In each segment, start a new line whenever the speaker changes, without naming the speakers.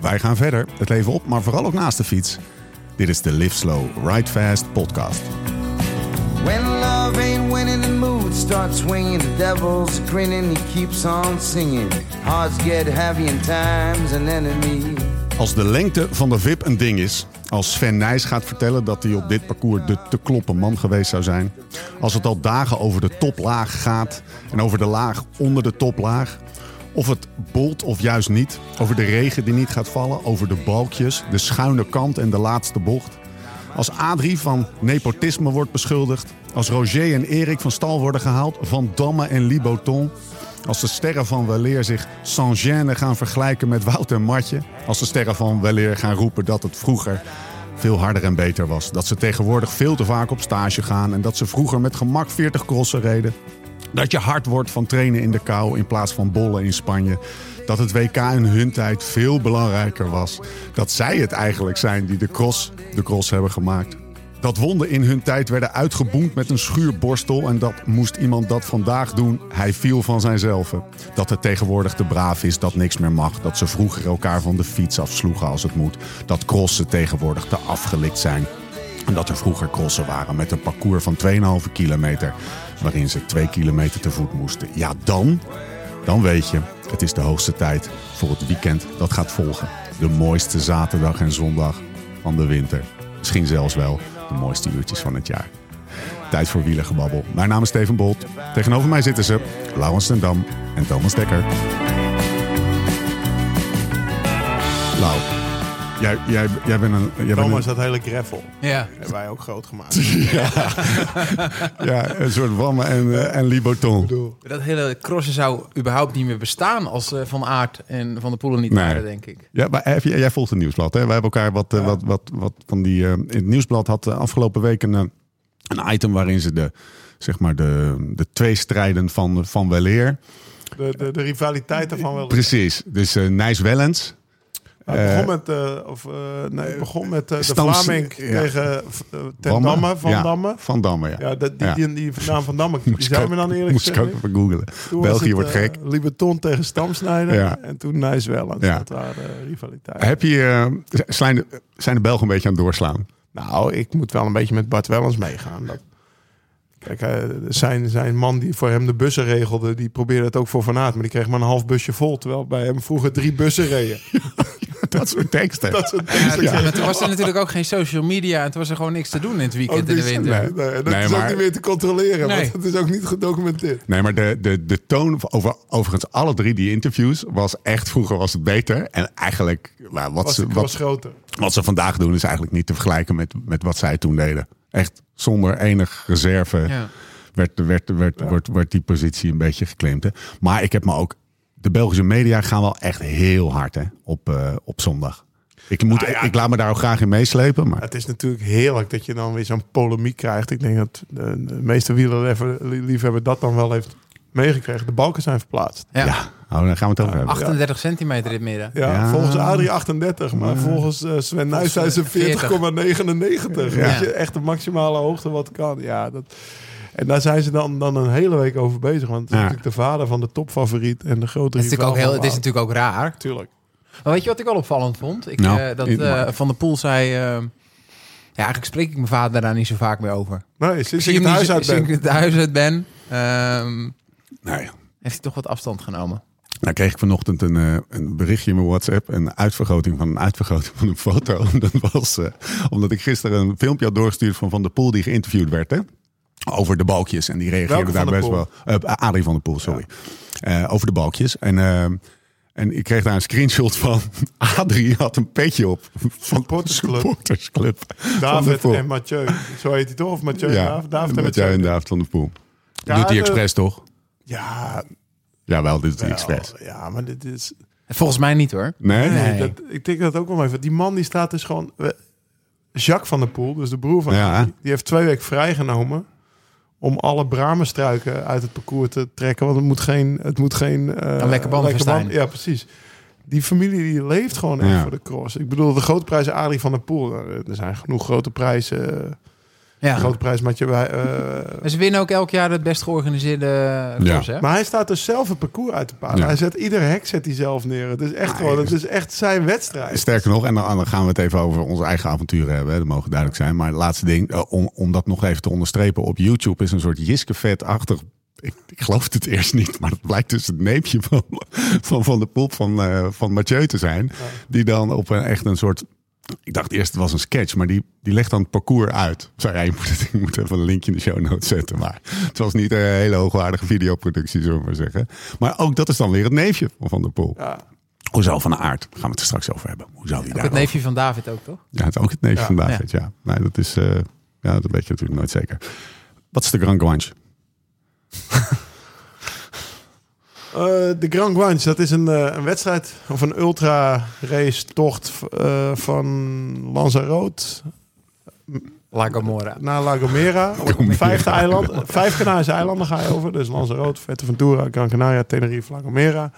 wij gaan verder. Het leven op, maar vooral ook naast de fiets. Dit is de Live Slow, Ride Fast podcast.
When love ain't winning, the mood starts swinging. The devil's grinning, he keeps on singing. Hearts get heavy, and time's an enemy.
Als de lengte van de VIP een ding is. Als Sven Nijs gaat vertellen dat hij op dit parcours de te kloppen man geweest zou zijn. Als het al dagen over de toplaag gaat en over de laag onder de toplaag. Of het bolt of juist niet. Over de regen die niet gaat vallen. Over de balkjes, de schuine kant en de laatste bocht. Als Adrie van nepotisme wordt beschuldigd. Als Roger en Erik van stal worden gehaald. Van Damme en Liboton. Als de sterren van Weleer zich sans gêne gaan vergelijken met Wout en Matje. Als de sterren van Weleer gaan roepen dat het vroeger veel harder en beter was. Dat ze tegenwoordig veel te vaak op stage gaan. En dat ze vroeger met gemak 40 crossen reden. Dat je hard wordt van trainen in de kou in plaats van bollen in Spanje. Dat het WK in hun tijd veel belangrijker was. Dat zij het eigenlijk zijn die de cross de cross hebben gemaakt. Dat wonden in hun tijd werden uitgeboend met een schuurborstel en dat moest iemand dat vandaag doen. Hij viel van zijzelf. Dat het tegenwoordig te braaf is dat niks meer mag. Dat ze vroeger elkaar van de fiets afsloegen als het moet. Dat crossen tegenwoordig te afgelikt zijn. En dat er vroeger crossen waren met een parcours van 2,5 kilometer. Waarin ze 2 kilometer te voet moesten. Ja, dan, dan weet je, het is de hoogste tijd voor het weekend dat gaat volgen. De mooiste zaterdag en zondag van de winter. Misschien zelfs wel de mooiste uurtjes van het jaar. Tijd voor wielergebabbel. Mijn naam is Steven Bolt. Tegenover mij zitten ze Laurens ten Dam en Thomas Dekker. Lau, jij, jij, jij bent een... Jij bent een-
Thomas, dat hele gravel
Ja.
hebben wij ook groot gemaakt.
Ja, een soort Wamme en, eh, en Liboton.
Dat hele crossen zou überhaupt niet meer bestaan als eh, Van Aert en Van der Poelen niet
Nee.
waren, denk ik.
Ja, maar heb je, jij volgt het nieuwsblad. Hè? Wij hebben elkaar wat, eh, wat, wat, wat van die. eh, in het nieuwsblad had eh, afgelopen week een, eh, een item waarin ze de, zeg maar de, de twee strijden van, van Weleer.
De, de, de rivaliteiten van wel.
Precies. Dus eh Nijs Wellens.
Maar het begon met, eh, of, eh, nee, het begon met eh, de
Stam-
Vlaming
ja.
tegen eh, Ten
Damme.
Damme, Van
Ja,
Damme.
Van Damme, ja.
Ja, dat, die,
Ja.
die, die naam Van Damme, die
Moest ik
zijn
ook-
we dan eerlijk
Moest ik
gezegd.
ook even googlen.
Toen was
België
het,
wordt
eh,
gek.
Lieberton tegen Stamsnijder
Ja.
en toen Nijs Wellens.
Ja.
Dat waren eh, rivaliteiten.
Heb je, eh, zijn, de, zijn de Belgen een beetje aan het doorslaan?
Nou, ik moet wel een beetje met Bart Wellens meegaan. Dat... Kijk, eh, zijn, zijn man die voor hem de bussen regelde, die probeerde het ook voor Van Aert. Maar die kreeg maar een half busje vol, terwijl bij hem vroeger drie bussen reden.
Dat soort teksten.
Dat soort
Ja,
dingen.
maar toen was er natuurlijk ook geen social media en toen was er gewoon niks te doen in het weekend in de
niks-
winter.
nee, nee, dat
Nee,
is
maar-
ook niet meer te controleren,
Nee.
want het is ook niet gedocumenteerd.
Nee, maar de, de, de toon over, overigens alle drie die interviews was echt vroeger was het beter. En eigenlijk nou, wat,
Was
ze,
de
wat,
klas groter.
wat ze vandaag doen is eigenlijk niet te vergelijken met, met wat zij toen deden. Echt zonder enig reserve
Ja.
werd, werd, werd, Wordt, wordt die positie een beetje geklemd. Hè? Maar ik heb me ook... De Belgische media gaan wel echt heel hard hè, op, eh, op zondag. Ik, moet,
Nou ja.
ik laat me daar ook graag in meeslepen. Maar
Het is natuurlijk heerlijk dat je dan weer zo'n polemiek krijgt. Ik denk dat eh, de, de meeste wielerliefhebber dat dan wel heeft meegekregen. De balken zijn verplaatst.
Ja.
ja, oh, daar gaan we het over hebben.
38 centimeter in het midden.
Ja,
Ja.
volgens Adrie 38, maar volgens eh, Sven Nijs zijn ze 40,99. 40.
Ja.
Weet je, echt de maximale hoogte wat kan. Ja, dat... En daar zijn ze dan, dan een hele week over bezig. Want het is
Ja.
natuurlijk de vader van de topfavoriet en de grote
Het is, natuurlijk ook heel, het is
natuurlijk...
natuurlijk ook raar.
Tuurlijk.
Maar weet je wat ik wel opvallend vond? Ik,
Nou,
eh, dat
ik-
eh, Van der Poel zei... eh, ja, eigenlijk spreek ik mijn vader daar niet zo vaak meer over.
Nee, sinds
Zie
ik
hem
het
niet
huis
zo-
uit
sinds
ben.
ik het huis uit ben, ehm,
Nee.
heeft hij toch wat afstand genomen.
Nou kreeg ik vanochtend een, eh, een berichtje in mijn WhatsApp. Een uitvergroting van een uitvergroting van een foto. Dat was eh, omdat ik gisteren een filmpje had doorgestuurd van Van der Poel die geïnterviewd werd. Hè? Over de balkjes. En die reageerde
Welke
daar
Van der
best wel. eh Adrie van der Poel, sorry. Eh, over de balkjes. En, eh, en ik kreeg daar een screenshot van. Adrie had een petje op. Van
Supportersclub.
supportersclub van Der
David
Poel.
en Mathieu. Zo heet hij toch? Of Mathieu en
Ja,
David? David en
met jou
Mathieu.
en David van der Poel.
Ja,
doet hij
de-
expres toch?
Ja,
Jawel, dit is
wel,
expres.
ja, maar dit is...
Volgens mij niet hoor.
Nee?
Nee,
Nee.
dat, ik denk dat ook wel even. Die man die staat dus gewoon... eh, Jacques van der Poel, dus de broer van
Ja.
hem, die, die heeft twee weken vrijgenomen om alle bramenstruiken uit het parcours te trekken. Want het moet geen... Het moet geen eh,
Een lekke band verstaan.
Ja, precies. Die familie die leeft gewoon echt
Ja.
voor de cross. Ik bedoel, de grote prijs Adrie van der Poel. eh, Er zijn genoeg grote prijzen. eh,
Ja.
Grote prijs Mathieu bij. eh,
En ze winnen ook elk jaar het best georganiseerde eh, koers, hè?
maar hij staat dus zelf het parcours uit te paden.
Ja.
Hij zet ieder hek zet hij zelf neer. Het is echt gewoon, het is echt zijn wedstrijd.
Sterker nog, en dan, dan gaan we het even over onze eigen avonturen hebben. hè, Dat mogen duidelijk zijn. Maar het laatste ding, eh, om, om dat nog even te onderstrepen. Op YouTube is een soort Jiske-vet-achtig... Ik, ik geloof het eerst niet, maar het blijkt dus het neepje van Van, van de Poel van, eh, van Mathieu te zijn. Die dan op een, echt een soort... Ik dacht eerst het was een sketch, maar die, die legt dan het parcours uit. Sorry, ja, je moet, het- ik moet even een linkje in de show notes zetten. Maar het was niet een hele hoogwaardige videoproductie, zullen we maar zeggen. Maar ook dat is dan weer het neefje van Van der Poel.
Ja.
Hoezo van de aard? Daar gaan we het er straks over hebben. Hoe zou die daar
Het neefje van David ook, toch?
Ja, het is ook het neefje
Ja,
van David, ja. Nee, dat is... eh, ja, dat weet je natuurlijk nooit zeker. Wat is de Grand Guanche?
Eh, de Grand Guanche, dat is een, eh, een wedstrijd of een ultra race tocht eh, van Lanzarote
La Gomora.
naar La Gomera. Vijfde eiland, vijf Canarische eilanden ga je over. Dus Lanzarote, Ventura, Gran Canaria, Tenerife, La Gomera.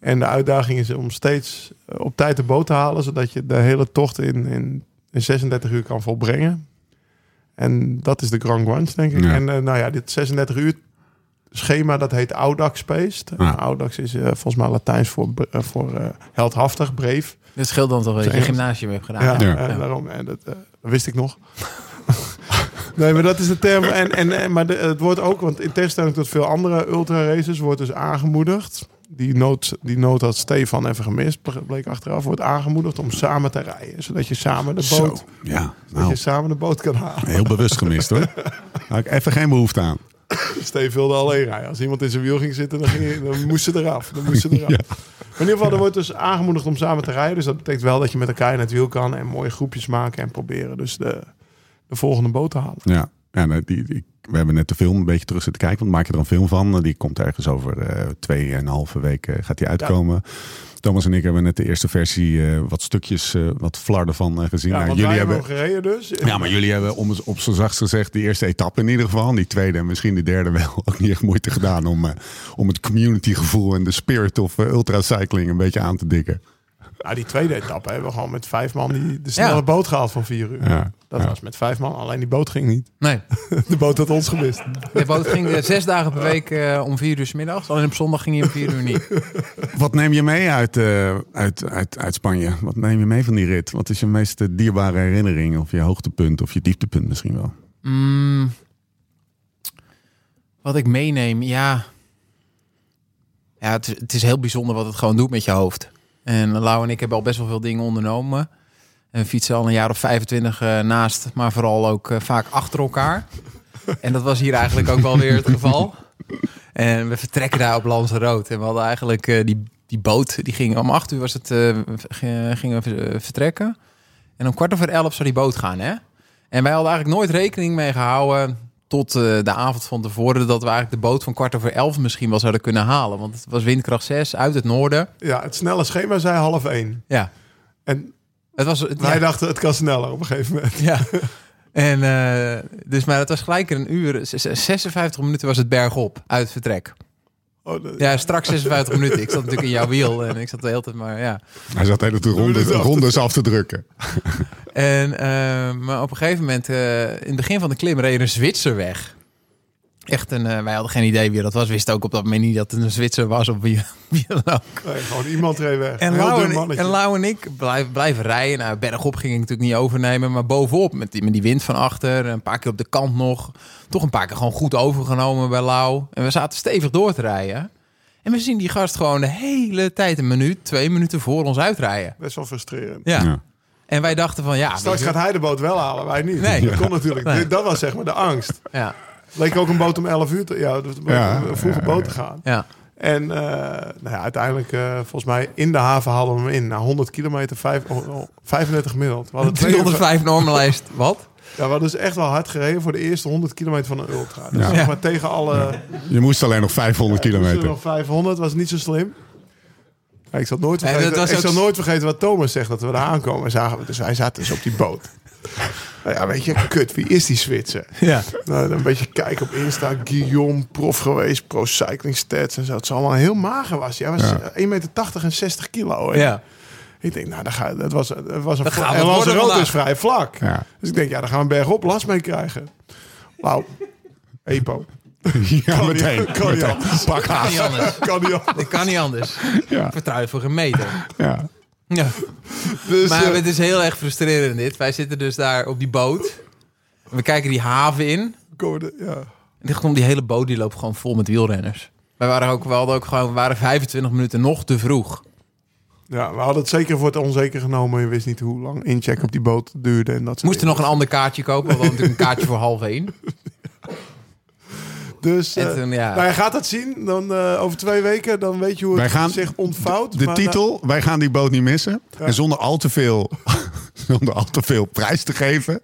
En de uitdaging is om steeds eh, op tijd de boot te halen, zodat je de hele tocht in, in, in 36 uur kan volbrengen. En dat is de Grand Guanche, denk ik.
Ja.
En eh, nou ja, dit 36 uur schema, dat heet Audax Based.
Ja.
Audax is eh, volgens mij Latijns voor, br- eh, voor eh, heldhaftig, breef.
Dat scheelt dan toch dat je
Zeg-
gymnasium hebt gedaan.
Ja,
Ja.
Ja.
eh, daarom. En dat, eh, dat wist ik nog. nee, maar dat is de term. En, en, en, maar de- het wordt ook, want in tegenstelling tot veel andere ultra-races, wordt dus aangemoedigd. Die nood, die nood had Stefan even gemist, bleek achteraf. Wordt aangemoedigd om samen te rijden. Zodat je samen de
Zo.
boot,
Ja,
dat je
nou,
samen de boot kan halen.
heel bewust gemist hoor. Had ik even geen behoefte aan.
Steve wilde alleen rijden. Als iemand in zijn wiel ging zitten, dan, ging hij- dan moest ze eraf. Dan moest ze eraf.
Ja.
Maar in ieder geval, er wordt dus aangemoedigd om samen te rijden. Dus dat betekent wel dat je met elkaar in het wiel kan en mooie groepjes maken en proberen dus de, de volgende boot te halen.
Ja, ja nou, die, die- we hebben net de film een beetje terug zitten kijken. Want maak je er een film van. Eh, Die komt ergens over eh, twee en een halve week eh, gaat die uitkomen. Thomas en ik hebben net de eerste versie eh, wat stukjes, eh, wat flarden van eh, gezien.
Ja,
Nou,
want
jullie
wij
hebben...
hebben hem gereden dus.
Ja, maar jullie hebben om, op z'n zachtst gezegd de eerste etappe in ieder geval. Die tweede en misschien de derde wel ook niet echt moeite gedaan om, eh, om het community gevoel en de spirit of eh, ultracycling een beetje aan te dikken.
Nou, die tweede etappe hebben we gewoon met vijf man die de snelle
Ja.
boot gehaald van vier uur.
Ja,
Dat
ja.
was met vijf man, alleen die boot ging niet.
Nee,
De boot had ons gemist.
de boot ging eh, zes dagen per week eh, om vier uur 's middags. Alleen op zondag ging hij om vier uur niet.
Wat neem je mee uit, eh, uit, uit, uit Spanje? Wat neem je mee van die rit? Wat is je meest eh, dierbare herinnering? Of je hoogtepunt of je dieptepunt misschien wel?
Mm, wat ik meeneem, ja. Ja, het, is- het is heel bijzonder wat het gewoon doet met je hoofd. En Lau en ik hebben al best wel veel dingen ondernomen. En we fietsen al een jaar of 25 eh, naast, maar vooral ook eh, vaak achter elkaar. En dat was hier eigenlijk ook wel weer het geval. En we vertrekken daar op Lanzarote. En we hadden eigenlijk eh, die, die boot, die ging om 8 uur was het, eh, g- gingen we eh, vertrekken. En om kwart over elf zou die boot gaan, hè? En wij hadden eigenlijk nooit rekening mee gehouden tot eh, de avond van tevoren dat we eigenlijk de boot van kwart over elf misschien wel zouden kunnen halen. Want het was windkracht 6 uit het noorden.
Ja, het snelle schema zei half één.
Ja,
En
het was. het-
wij
ja,
dachten, het kan sneller op een gegeven moment.
ja. En eh, dus, maar het was gelijk in een uur. zes- 56 minuten was het bergop uit het vertrek.
Oh, de-
Ja, straks 56 minuten. Ik zat natuurlijk in jouw wiel en ik zat de hele tijd maar. Ja.
Hij zat de hele tijd
Rondes
rondes,
af te-
rondes af te drukken.
En, eh, maar op een gegeven moment, eh, in het begin van de klim, reed er een Zwitser weg. Echt een, eh, wij hadden geen idee wie dat was. Wisten ook op dat moment niet dat het een Zwitser was of wie, wie dan ook.
nee, gewoon iemand reed weg.
En
Een heel
Lau
dun
en,
mannetje.
en Lau en ik blijf, blijven rijden. Nou, bergop ging ik natuurlijk niet overnemen. Maar bovenop, met die, met die wind van achter. Een paar keer op de kant nog. Toch een paar keer gewoon goed overgenomen bij Lau. En we zaten stevig door te rijden. En we zien die gast gewoon de hele tijd een minuut, twee minuten voor ons uitrijden.
Best wel frustrerend.
Ja.
Ja.
En wij dachten van ja.
Straks
Ah, weet je-
gaat hij de boot wel halen, wij niet.
Nee.
Dat kon natuurlijk.
Nee.
Dat was zeg maar de angst.
ja,
Leek ook een boot om 11 uur te, ja, dat-
Ja,
een vroege
ja,
boot te gaan.
ja.
En eh, nou ja, uiteindelijk, eh, volgens mij, in de haven haalden we hem in. Na 100 kilometer, vijf- oh, oh, 35 gemiddeld. We hadden, twee uur, ja,
305 normenlijst. Wat?
we hadden dus echt wel hard gereden voor de eerste 100 kilometer van een ultra. Dus
Ja.
zeg maar tegen alle...
Je moest alleen nog 500
moesten er
kilometer.
nog 500 was niet zo slim. Maar Ik zal nooit
Nee,
vergeten,
dat was
ik
ook-
zal nooit vergeten wat Thomas zegt dat we daar aankomen. Zagen we, dus wij zaten dus op die boot. Nou ja, weet je, kut, wie is die Zwitser?
Ja.
Nou, dan een beetje kijken op Insta. Guillaume, prof geweest, pro cycling stats en zo. Het is allemaal heel mager was. Hij Hij was
Ja.
1,80 meter en 60 kilo. hè.
ja.
Ik denk, nou, daar ga, dat was, dat was een
Dat
vla-
gaat
en
wat
Lance
worden
Rood is
vandaag.
vrij vlak.
Ja.
Dus ik denk, ja, daar gaan we bergop last mee krijgen. Nou, Epo.
Ja,
niet-
meteen.
kan niet
meteen.
anders.
Pak
Kan
haast.
niet anders.
Kan niet anders.
Dat kan niet anders.
Ja.
Vertrouwd voor een meter.
Ja.
Ja.
Dus,
Maar
eh,
het is heel erg frustrerend dit. Wij zitten dus daar op die boot. We kijken die haven in.
komen de- ja.
En dit komt die hele boot die loopt gewoon vol met wielrenners. Wij waren ook, we hadden ook gewoon, we waren 25 minuten nog te vroeg.
ja, we hadden het zeker voor het onzeker genomen. Je wist niet hoe lang incheck op die boot duurde. En dat soort
We moesten
dingen.
nog een ander kaartje kopen. We hadden natuurlijk een kaartje voor half één.
Dus eh,
En toen, ja.
nou, je gaat dat zien. Dan, eh, over twee weken dan weet je hoe
Wij
het
gaan-
zich ontvouwt.
De
Maar, nou,
titel, wij gaan die boot niet missen. En zonder al, te veel, zonder al te veel prijs te geven.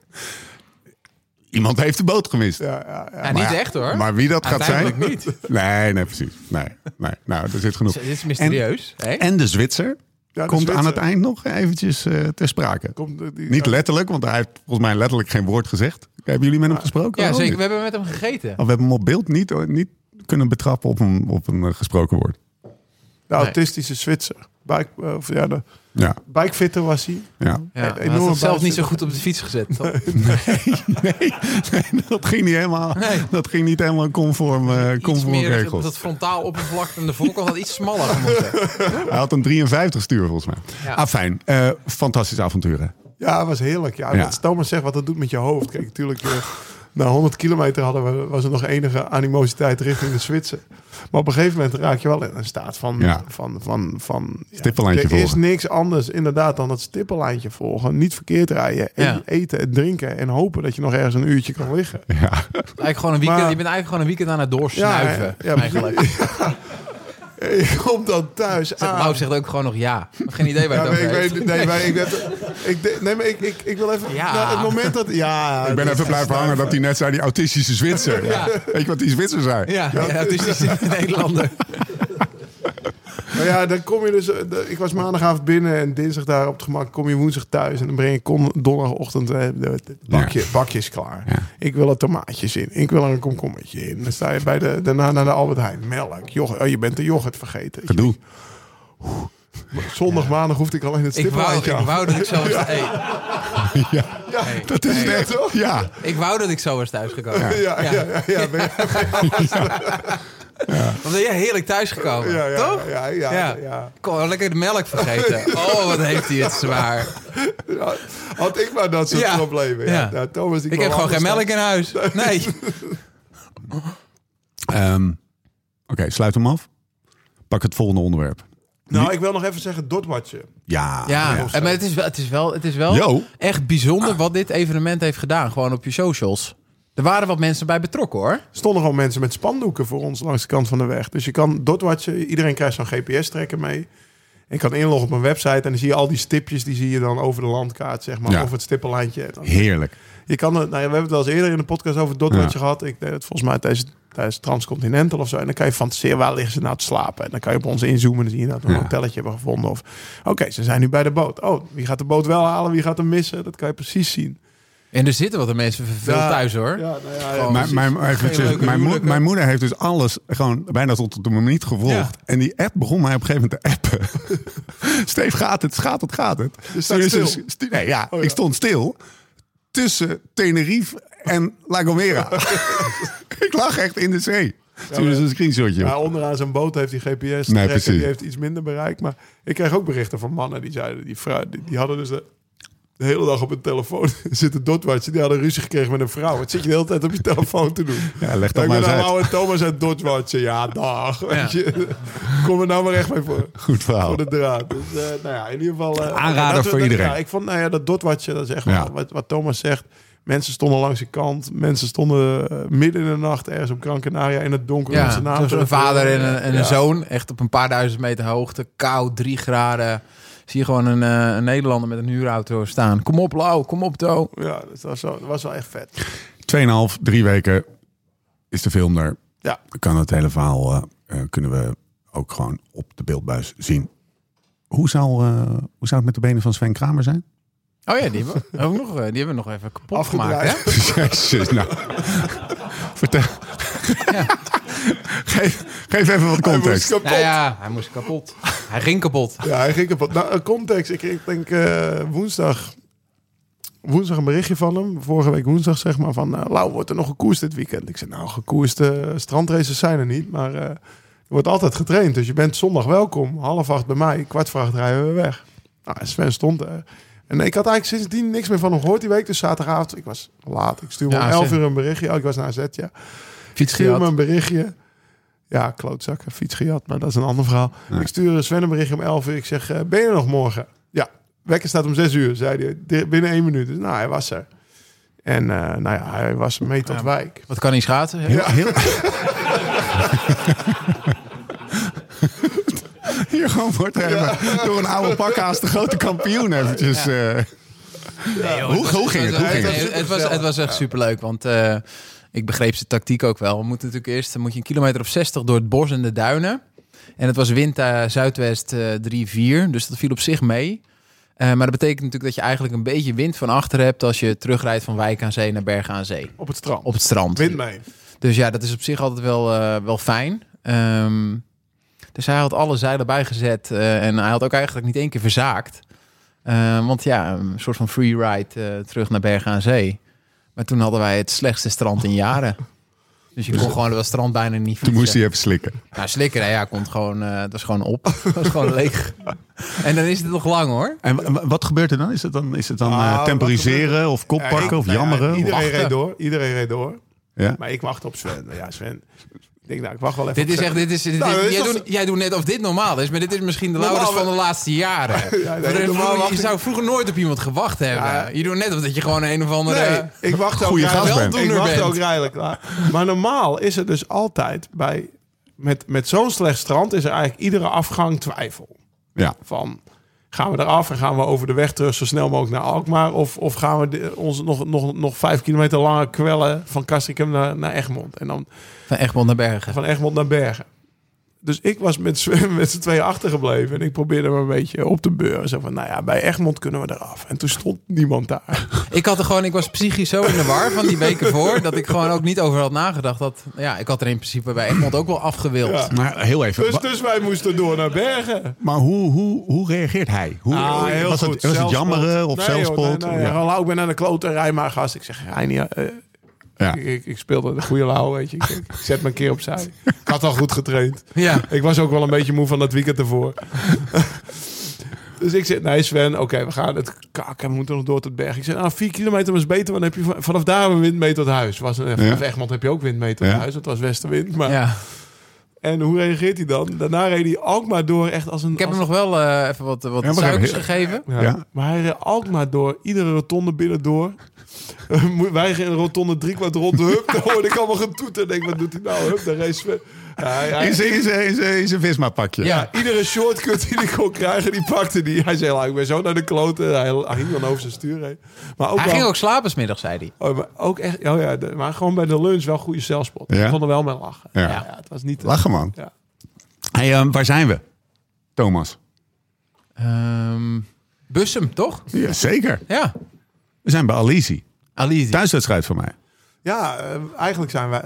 Iemand heeft de boot gemist.
nou, ja, ja, ja.
Ja, niet echt hoor.
Maar wie dat gaat zijn.
Uiteindelijk niet.
Nee, nee, precies. Nee, nee. Nou, er zit genoeg.
Dit is mysterieus. hè?
En, en de Zwitser
Ah, de
komt aan
Zwitser.
het eind nog eventjes eh, ter sprake.
Komt, eh, die-
Niet letterlijk, want hij heeft volgens mij letterlijk geen woord gezegd. Hebben jullie
Ah.
met hem gesproken?
ja,
Oh,
zeker.
niet.
We hebben met hem gegeten.
Oh, we hebben hem op beeld niet, niet kunnen betrappen op een, op een eh, gesproken woord.
De
Nee.
autistische Zwitser. Bike, eh, of, ja, de
Ja,
bikefitter was hij.
ja.
Ja,
Een
hij
enorme
had het zelf
buis-
niet zo goed op de fiets gezet. toch?
Nee, nee, dat ging niet helemaal. Dat ging niet helemaal conform, eh
Iets
conform
meer
regels.
dat, dat frontaal oppervlak en de voorkant had iets smaller gemoeten.
Hij had een 53 stuur volgens mij.
Ja.
Ah, fijn. Eh, fantastisch avontuur. hè?
Ja, het was heerlijk. Ja,
Ja.
Wat Thomas zegt, wat dat doet met je hoofd. Kijk, natuurlijk, eh, na 100 kilometer hadden we, was er nog enige animositeit richting de Zwitser. Maar op een gegeven moment raak je wel in een staat van...
Ja.
van, van, van ja,
Stippellijntje
Er is
volgen.
niks anders inderdaad dan dat stippellijntje volgen. Niet verkeerd rijden. En
Ja.
Eten en drinken. En hopen dat je nog ergens een uurtje kan liggen.
Ja.
Eigenlijk gewoon een weekend,
Maar-
je bent eigenlijk gewoon een weekend aan het doorsnuiven.
Ja, ja,
eigenlijk.
Je komt dan thuis
Zegt,
aan.
Wout zegt ook gewoon nog ja. Geen idee waar
Ja,
het
maar
over
ik
heeft.
weet nee, maar ik, weet- ik, de- nee, maar ik, ik, ik wil even...
Ja.
Nou, het moment dat... Ja,
Ik ben even blijven hangen dat hij net zei, die autistische Zwitser.
Ja.
Weet je wat die Zwitser zei?
Ja, ja, het is die Nederlander.
Nou ja, dan kom je dus. eh, de- Ik was maandagavond binnen en dinsdag daar op het gemak. Kom je woensdag thuis en dan breng je kon- donderdagochtend eh, de- de- het bakje,
Ja.
bakje is klaar.
Ja.
Ik wil er tomaatjes in. Ik wil er een komkommetje in. Dan sta je bij de, daarna naar de Albert Heijn. Melk, yoghurt. Oh, je bent de yoghurt vergeten.
Gedoe.
Zondag, maandag hoefde ik alleen het
Ik wou,
stippellijntje
ik
af.
wou dat ik zo was. hey,
Ja,
hey,
dat is
hey.
echt. Ja.
Ik wou dat ik zo was thuisgekomen.
Ja.
Ja, ja, ja, ja, ben je-
Dan ben jij heerlijk thuisgekomen,
ja, ja,
toch?
ja, ja,
Ja.
ja, ja.
Kom, lekker de melk vergeten. Oh, wat heeft hij het zwaar.
Ja, Had ik maar dat soort
Ja.
problemen. Ja.
Ja.
Nou, Thomas, die
Ik
kwam
heb gewoon geen
anders
melk in huis. Nee.
Ehm, Oké, sluit hem af. Pak het volgende onderwerp.
dan. Nou, ik wil nog even zeggen, Dotwatje.
Ja.
Ja, en maar het is wel, het is wel, het is wel
Yo.
echt bijzonder
Ah.
wat dit evenement heeft gedaan. Gewoon op je socials. Er waren wat mensen bij betrokken, hoor.
stonden gewoon mensen met spandoeken voor ons langs de kant van de weg. Dus je kan dotwatchen, iedereen krijgt zo'n GPS-trekker mee. En je kan inloggen op een website en dan zie je al die stipjes, die zie je dan over de landkaart, zeg maar,
Ja.
over het stippellijntje. En dan-
Heerlijk.
Je kan, het- nou, ja, we hebben het wel eens eerder in de podcast over dotwatchen gehad. Ik deed het volgens mij tijdens, tijdens Transcontinental of zo. En dan kan je fantaseren, waar liggen ze nou te slapen? En dan kan je op ons inzoomen en dan zie je dat we een
Ja.
hotelletje hebben gevonden. Of, oké, ze zijn nu bij de boot. Oh, wie gaat de boot wel halen, wie gaat hem missen? Dat kan je precies zien.
En er zitten wat mensen verveeld
Ja.
thuis, hoor.
Ja, nou ja, ja,
Gewoon-
Mijn, mijn, eventjes,
Geen leuke
mijn, moeder,
huwelijken.
mijn moeder heeft dus alles gewoon bijna tot op de minuut gevolgd.
Ja.
En die app begon mij op een gegeven moment te appen. Steef, gaat het, gaat het, gaat het.
staat
Toen is
stil. Oh,
ze- stu- nee, ja,
ja.
ik stond stil tussen Tenerife en La Gomera. ik lag echt in de zee. Toen is een screenshotje.
Ja, onderaan zijn boot heeft die GPS.
Nee,
trekker,
precies.
Die heeft iets minder bereik. Maar ik kreeg ook berichten van mannen die zeiden... Die, vrou- die, die hadden dus de, de hele dag op hun telefoon zitten dotwatchen. Die hadden ruzie gekregen met een vrouw. Wat zit je de hele tijd op je telefoon te doen?
Ja, leg dat
ik
maar
ben
eens uit.
nou oude Thomas uit dotwatchen. Ja, dag. Weet je. Kom er nou maar echt mee voor.
Goed verhaal.
Voor de draad. Dus eh, nou ja, in ieder geval... eh,
Oh. Aanrader
dat-
voor
dat-
iedereen.
Ja, ik vond nou ja, dat dotwatchen, dat is echt
Ja.
wel wat, wat Thomas zegt. Mensen stonden langs de kant. Mensen stonden eh, midden in de nacht ergens op Gran Canaria in het donker.
Ja,
met z'n naam
het was een
terug.
vader en een, en een
Ja.
zoon. Echt op een paar duizend meter hoogte. Koud, drie graden. Zie je gewoon een, eh, een Nederlander met een huurauto staan. Kom op, Lau. Kom op, Do.
Ja, dat was wel, dat was wel echt vet.
Tweeënhalf, drie weken is de film er.
Ja.
Kan het hele verhaal eh, eh, kunnen we ook gewoon op de beeldbuis zien. Hoe zou, eh, hoe zou het met de benen van Sven Kramer zijn?
Oh ja, die hebben, we ook nog, eh, die hebben we nog even kapot
Afgedraaid.
gemaakt. Hè?
Jezus, nou. Vertel. geef, geef even wat
Hij moest
context.
kapot.
Nou ja, hij moest kapot. Hij ging kapot.
Ja, hij ging kapot. Nou, eh, context. Ik kreeg denk eh, woensdag, woensdag een berichtje van hem. Vorige week woensdag zeg maar. Van nou, Lau, wordt er nog gekoerst dit weekend? Ik zei nou, gekoerst. eh, strandraces zijn er niet. Maar eh, er wordt altijd getraind. Dus je bent zondag welkom. Half acht bij mij. Kwart voor acht rijden we weg. Nou, en Sven stond er. En ik had eigenlijk sindsdien niks meer van hem gehoord die week. Dus zaterdagavond, ik was laat. Ik stuurde
Ja,
om 11
AZ.
uur een berichtje. Oh, ik was naar AZ, ja. Ik
Fiets
stuur me
gehad.
een berichtje. Ja, klootzak, een fiets gejat, maar dat is een ander verhaal. Ik stuur Sven een berichtje om 11 uur. Ik zeg, eh, ben je er nog morgen? Ja, wekker staat om 6 uur, zei hij. Di- Binnen één minuut. Dus nou, hij was er. En eh, nou ja, hij was mee tot
Ja.
wijk.
Wat kan hij schaatsen? hè?
Heel, heel... Hier gewoon wordt er even door een oude pakhaas de grote kampioen eventjes. eh.
Nee, joh,
Hoe- hoe
was-
ging het?
was-
Hoe ging
nee,
het?
Het was, het was echt superleuk, want eh, ik begreep zijn tactiek ook wel. We moeten natuurlijk eerst dan moet je een kilometer of 60 door het bos en de duinen. En het was wind eh, zuidwest eh, 3-4, dus dat viel op zich mee. Eh, maar dat betekent natuurlijk dat je eigenlijk een beetje wind van achter hebt als je terugrijdt van wijk aan zee naar bergen aan zee.
Op het strand.
Op het strand.
Wind mee.
Dus ja, dat is op zich altijd wel, eh, wel fijn. Ehm, dus hij had alle zeilen bijgezet eh, en hij had ook eigenlijk niet één keer verzaakt. Ehm, want ja, een soort van free ride eh, terug naar Bergen aan Zee. Maar toen hadden wij het slechtste strand in jaren. Dus je kon gewoon dat strand bijna niet
Toen moest
fietsen.
hij even slikken.
Nou, slikker, hè, ja, komt gewoon, eh het was gewoon op. Het was gewoon leeg. En dan is het nog lang, hoor.
En wa- wa- wat gebeurt er dan? Is het dan, is het dan eh,
Ah, wat
temporiseren of
Ja, ik-
koppakken of
nou ja,
jammeren? Of-
iedereen
wachten.
reed door. Iedereen reed door.
Ja.
Maar ik wacht op Sven. Nou Ja, Sven. Ik denk, nou, ik wacht wel even
Dit is
op
echt, dit is, dit
Nou,
is-
dat is
jij,
toch-
doet, jij doet net of dit normaal is, maar dit is misschien de
Normaal
Laurens van de
wel-
laatste jaren.
nee,
Want er-
normaal
vroeger-
wacht
je
ik-
zou vroeger nooit op iemand gewacht hebben.
Ja.
Je doet net of dat je gewoon een of andere...
Nee, ik wacht ook
Goeie
rijden-
gast bent.
Ik
Weldoener
wacht
bent.
ook rijden klaar. Maar normaal is er dus altijd bij... Met, met zo'n slecht strand is er eigenlijk iedere afgang twijfel.
Ja.
Van, gaan we eraf en gaan we over de weg terug zo snel mogelijk naar Alkmaar? Of, of gaan we de- ons nog, nog, nog vijf kilometer langer kwellen van Castricum naar, naar Egmond? En dan
Van Egmond naar Bergen.
van Egmond naar Bergen. Dus ik was met, Sven- met z'n tweeën achtergebleven. En ik probeerde me een beetje op te beuren. Zo van, nou ja, bij Egmond kunnen we eraf. En toen stond niemand daar.
Ik had er gewoon, ik was psychisch zo in de war van die weken voor, dat ik gewoon ook niet over had nagedacht. Dat, ja, ik had er in principe bij Egmond ook wel afgewild.
Ja.
Maar heel even.
Dus,
wa-
dus wij moesten door naar Bergen.
Maar hoe, hoe, hoe reageert hij? Hoe,
Ah, heel
was,
goed.
Het, was het
Zelfspot.
jammeren of
nee, Joh,
zelfspot?
nee, nee.
Ja.
Hallo, ik ben aan de klote, rij maar gast. Ik zeg, rij niet, eh,
Ja.
ik, ik, ik speelde de goede lauw, weet je. Ik, ik zet me een keer opzij. Ik had al goed getraind.
Ja.
Ik was ook wel een beetje moe van dat weekend ervoor. Dus ik zeg, nee Sven, oké, we gaan het kakken. We moeten nog door tot berg. Ik zeg, nou, vier kilometer was beter. Want dan heb je van- vanaf daar een wind mee tot huis. Was, een Vanaf Egmond heb je ook wind mee tot
Ja.
huis. Dat was westenwind. Maar,
Ja.
En hoe reageert hij dan? Daarna reed hij Alkmaar door echt als een...
Ik heb
als
hem nog wel eh, even wat, wat
Ja, maar
suikers
heel-
gegeven.
Ja.
Ja.
Maar hij reed Alkmaar door. Iedere rotonde binnen door. Moet- Wij gingen een rotonde drie kwart rond. Hup, dan hoorde ik allemaal getoeter. Denk, wat doet hij nou? Hup, daar reed Sven. Ja, hij- hij-
In zijn- in zijn- in zijn- in zijn Visma-pakje.
Ja.
Iedere shortcut die ik kon krijgen, die pakte die. Hij zei, "Nou, ik ben zo naar de kloten. Hij hij hing dan over zijn stuur heen. Maar ook,
Hij
wel-
ging ook slapen smiddag, zei hij.
oh, maar ook echt, oh ja, de- maar gewoon bij de lunch wel goede zelfspot.
Ja?
Ik kon er wel mee lachen.
Ja.
het was niet...
Lachen, man.
Ja.
Hey, eh, waar zijn we? Thomas.
Ehm Bussum, toch?
Ja, zeker.
Ja.
We zijn bij Alisi.
Ali.
Thuiswedstrijd van mij.
Ja, eh, eigenlijk zijn wij...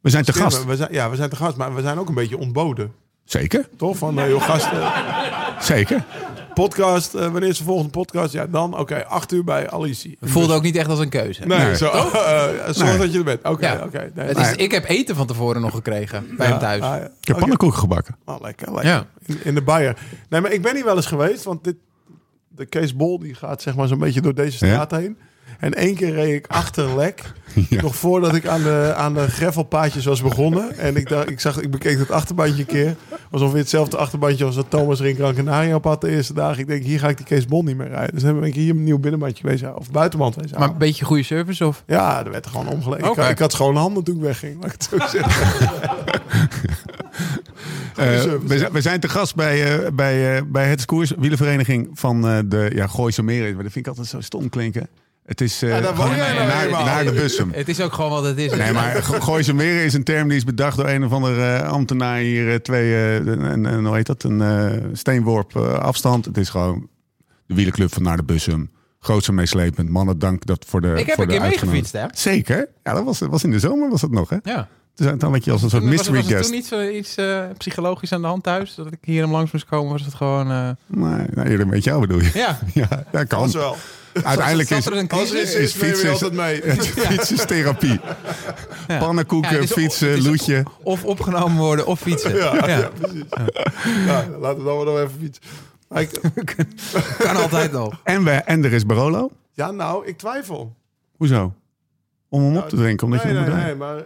We zijn te gast.
We zijn, ja, we zijn te gast, maar we zijn ook een beetje ontboden.
Zeker.
Toch? Van, eh, joh, gasten...
Zeker.
podcast, eh, wanneer is de volgende podcast? Ja, dan, oké, acht uur bij Alicie.
Voelde ook niet echt als een keuze.
Nee,
Nee.
Zo, eh, zorg
Nee.
dat je er bent. Oké,
Ja.
oké. nee. nou,
Het is, ik heb eten van tevoren nog gekregen bij hem thuis.
Ah, ja.
Ik heb
Oké.
pannenkoeken gebakken.
Oh, lekker, lekker.
Ja.
In, in de Bayer. Nee, maar ik ben hier wel eens geweest, want dit, de Kees Bol die gaat zeg maar zo'n beetje door deze straat heen. En één keer reed ik achter een lek, nog voordat ik aan de, aan de greffelpaadjes was begonnen. En ik, dacht, ik, zag, ik bekeek het achterbandje een keer. Was ongeveer hetzelfde achterbandje als dat Thomas Rink Gran Canaria op had de eerste dagen. Ik denk, hier ga ik die Kees Bol niet meer rijden. Dus dan ben ik hier een nieuw binnenbandje bezig, of buitenband bezig.
Maar een beetje goede service, of?
Ja, er werd gewoon omgelegd.
Oké.
Ik, ik had schone handen toen ik wegging, laat ik het zo zeggen.
Eh,
Oh, service,
we, zijn, we zijn te gast bij, eh, bij, eh, bij het Koers, wielenvereniging van eh, de ja, Gooise Meren. Maar dat vind ik altijd zo stom klinken. Het is eh,
Ja, daar woon
gewoon
jij nou
naar,
eenmaal.
naar de Bussum.
Het is ook gewoon wat het is. Dus-
Nee, maar Go- Gooise Meren is een term die is bedacht door een of andere ambtenaar hier. eh, twee, eh, een, een, hoe heet dat? Een eh, steenworp eh, afstand. Het is gewoon de wielerclub van naar de Bussum. Grootste meeslepend. Mannen, dank dat voor de
Ik heb
voor
een
de
keer
uitgenodiging.
meegefietst, hè?
Zeker. Ja, dat was, was in de zomer was dat nog, hè?
Ja.
Dus dan werd je als een soort
Was-
mystery
was, er
guest.
toen iets, eh, iets eh, psychologisch aan de hand thuis? Dat ik hier hem langs moest komen, was het gewoon... eh,
Maar nou, eerder met jou bedoel je.
ja.
Ja, dat kan.
Dat is wel.
Uiteindelijk
Zat
is,
er een
is, is,
crisis?
Is
fietsen
Mary altijd mee.
fietsen is therapie.
ja.
Pannenkoeken,
Ja, het is-
fietsen,
het is-
loetje.
Of opgenomen worden, of fietsen.
Ja,
Ja,
ja, precies. Ja, laten we dan maar nog even fiets. Maar ik-
Kan altijd al.
En, we, en er is Barolo.
ja, nou, ik twijfel.
Hoezo? Om hem op te drinken, omdat
Nou, Nee,
je hem
nee,
moet
nee, maar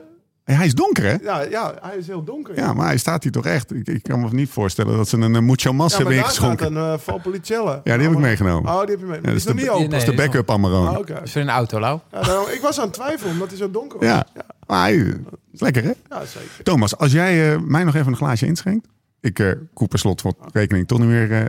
Hij is donker, hè?
ja, ja, hij is heel donker.
Ja, maar hij staat hier toch echt. Ik, ik kan me niet voorstellen dat ze een eh, mucho massa
Ja, maar
hebben
daar staat
ingeschonken.
een eh, Valpolicella.
Ja, die heb ik meegenomen.
Oh, die heb je mee.
Ja,
die is nog niet open.
dat is de
Nee,
backup Amarone.
Ah, oké.
Is er een auto, Lau?
Ja, daarom- ik was aan het twijfelen omdat hij zo donker was.
Ja, maar hij eh, is lekker, hè?
Ja, zeker.
Thomas, als jij eh, mij nog even een glaasje inschenkt. Ik eh koep per slot wat rekening toch niet meer eh,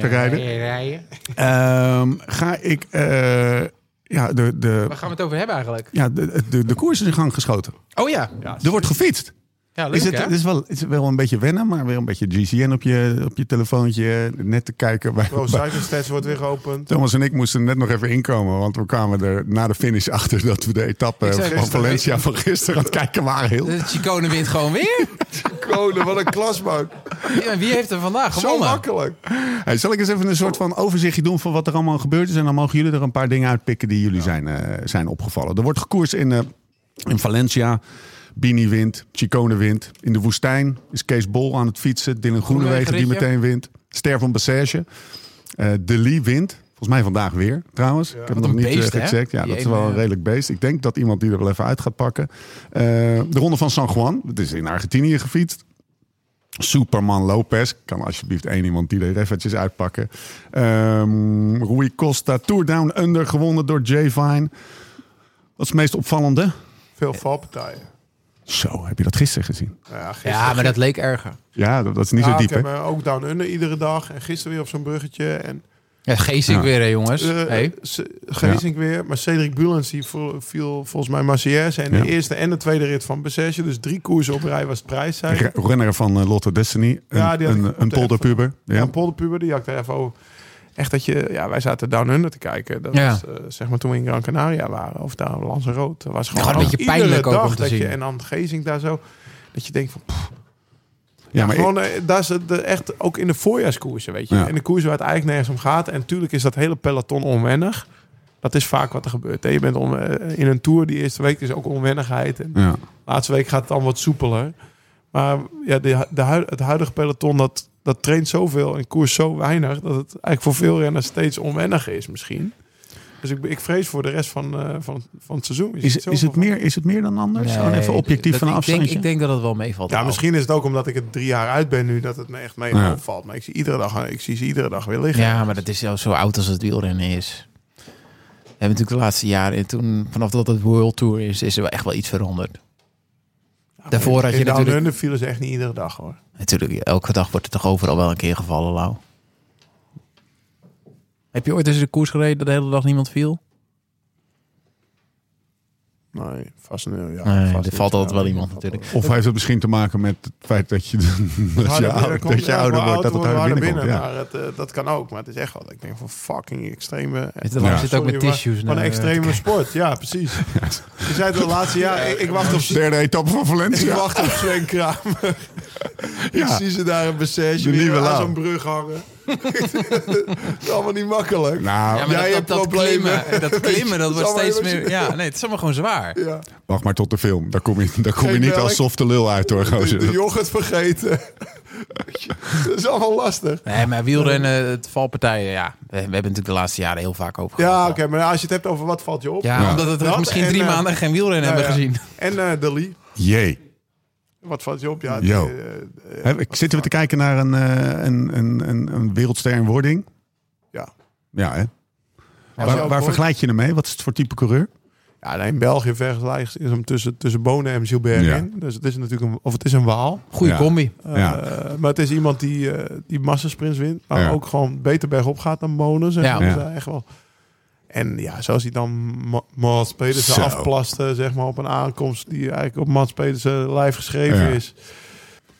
te rijden. Ehm, ga ik eh, ja, de, de,
Waar gaan we het over hebben eigenlijk?
ja, de, de, de koers is in gang geschoten.
Oh ja.
Er wordt gefietst.
Ja, leuk
Is het,
hè?
het is wel, het is wel een beetje wennen, maar weer een beetje GCN op je, op je telefoontje. Net te kijken. Bij,
Pro
bij-
Cycling Stats wordt weer geopend.
Thomas en ik moesten net nog even inkomen, want we kwamen er na de finish achter dat we de etappe
Ik zei
van
gisteren-
Valencia van gisteren aan het kijken waren. Heel.
De Chicone wint gewoon weer.
Kronen, wat een klasbak.
Ja, wie heeft er vandaag
Zo
gewonnen?
makkelijk.
Hey, zal ik eens even een soort van overzichtje doen van wat er allemaal gebeurd is? En dan mogen jullie er een paar dingen uitpikken die jullie zijn, eh, zijn opgevallen. Er wordt gekoerst in, eh, in Valencia. Bini wint, Chicone wint. In de woestijn is Kees Bol aan het fietsen. Dylan Groenewegen die
ritje.
meteen wint. Ster van Bessage. Eh de Lee wint. Volgens mij vandaag weer, trouwens. Ik heb het nog
een
niet eh,
beest, hè?
gecheckt. Ja,
Die
dat is
ene,
wel een
ja.
redelijk beest. Ik denk dat iemand die er wel even uit gaat pakken. Eh, de Ronde van San Juan. Dat is in Argentinië gefietst. Superman Lopez. Kan alsjeblieft één iemand die er eventjes uitpakken. Ehm Rui Costa, Tour Down Under, gewonnen door Jay Vine. Wat is het meest opvallende?
Veel valpartijen.
Zo, heb je dat gisteren gezien?
Nou Ja, gisteren-
Ja, maar dat leek erger.
Ja, dat, dat is niet
Ja,
zo diep,
ik heb
hè?
eh, ook Down Under iedere dag. En gisteren weer op zo'n bruggetje. En
Ja, Geesink
Ja.
weer hè, jongens.
eh,
hey.
Se- Gezink weer. Maar Cedric Bulens die vo- viel volgens mij Marciers. En
Ja.
de eerste en de tweede rit van Bessage. Dus drie koersen op rij was het prijs. zei hij.
Re- Renner van eh, Lotto Destiny. Een,
Ja, die had ik
een,
op
een
de app.
polderpuber. Ja.
Ja, Polderpuber, die had ik er even over. Echt dat je, ja, wij zaten Down Under te kijken. Dat
Ja.
was, eh, zeg maar toen we in Gran Canaria waren, of daar Lanzarote. Dat was gewoon
Gewoon een beetje
iedere
pijnlijk ook
dag
om te
dat Je,
zien.
en dan Gezink daar zo. Dat je denkt van, pff,
ja, maar
gewoon, eh, daar is het eh, echt ook in de voorjaarskoersen, weet je.
Ja.
In de koersen waar het eigenlijk nergens om gaat. En natuurlijk is dat hele peloton onwennig. Dat is vaak wat er gebeurt. hè. Je bent on- eh, in een tour, die eerste week is ook onwennigheid. En
ja.
Laatste week gaat het dan wat soepeler. Maar ja, de, hu- de, hu- het huidige peloton dat, dat traint zoveel en koers zo weinig... dat het eigenlijk voor veel renners steeds onwennig is misschien. Dus ik, ik vrees voor de rest van, eh, van, van het seizoen. Je
is,
ziet
is, het
zoveel-
meer, is het meer dan anders? Gewoon even objectief
dat-
van een
ik denk,
afstandje.
ik denk dat het wel meevalt. Nou.
Ja,
Lau.
misschien is het ook omdat ik het drie jaar uit ben nu... dat het me echt mee
Ja.
opvalt. Maar ik zie, iedere dag, ik zie ze iedere dag weer liggen.
Ja, maar dat is zo- zo oud als het wielrennen is. We hebben natuurlijk de laatste jaren, en toen, vanaf dat het World Tour is, is er wel echt wel iets veranderd. Daarvoor had
In
je
Down
natuurlijk-
Under vielen ze echt niet iedere dag hoor.
Natuurlijk, elke dag wordt er toch overal wel een keer gevallen, Lau. Heb je ooit eens de koers gereden dat de hele dag niemand viel?
Nee, vast niet. Ja,
Nee,
vast
er
niet.
valt altijd
Ja,
wel
dat
iemand
valt
natuurlijk.
Of heeft het misschien te maken met het feit dat je, dat je,
Harder binnen
ouder,
komt,
dat je
ja,
ouder
maar
wordt, dat het
auto
harder
wordt
binnenkomt? Ja.
binnen, Maar het, eh, dat kan ook. Maar het is echt wel. Ik denk van fucking extreme.
Het lang zit ook met
maar-
tissues
Van een
naar, eh, te
extreme
kijken.
sport. Ja, precies. Je zei het de laatste jaar. Ik, ik wacht op.
Derde etappe van
Ik
Valencia.
wacht op Sven Kramer.
Ja.
Ik zie ze daar een
De
passage
nieuwe
weer aan
Lau.
zo'n brug hangen. Het is allemaal niet makkelijk.
Nou,
Ja,
Jij
maar dat,
hebt
dat, dat
problemen.
klimmen, dat klimmen, dat
is
wordt
allemaal
steeds meer...
emotioneel.
Ja, nee, het is allemaal gewoon zwaar.
Ja.
Wacht maar tot de film. Daar kom je, daar kom je
Geen
niet
melk.
als softe lul uit hoor,
nou, De,
gozer.
de yoghurt vergeten. Dat is allemaal lastig.
Nee, maar wielrennen, het valpartijen, ja. We, we hebben natuurlijk de laatste jaren heel vaak over
Ja,
gehad.
oké, maar als je het hebt over wat valt je op.
Ja,
Ja.
omdat
Dat
we misschien
en,
drie
eh,
maanden geen wielrennen
Nou
hebben
ja.
gezien.
En eh de Lee.
Jee.
Wat valt je op? Ja,
Yo.
die, eh, eh,
Hè, ik- Zitten we te kijken naar een, eh, een, een, een, een wereldster in wording?
ja.
Ja, hè?
Als je
Waar,
ook
waar
hoort-
vergelijk je hem mee? Wat is het voor type coureur?
Ja, nee, in België vergelijkt is hem tussen, tussen Bonen en Gilbert
Ja.
in. Dus het is natuurlijk een, of het is een waal.
Goeie
Ja.
combi.
Eh,
Ja.
maar het is iemand die, eh die massasprints wint. Maar
Ja.
ook gewoon beter bergop gaat dan Bonen. Zeg
Ja.
maar. Dus
Ja.
hij echt wel. En ja, zoals hij dan Ma- Mats Pedersen
Zo.
afplaste, zeg maar, op een aankomst die eigenlijk op Mats Pedersen live geschreven
Ja.
is.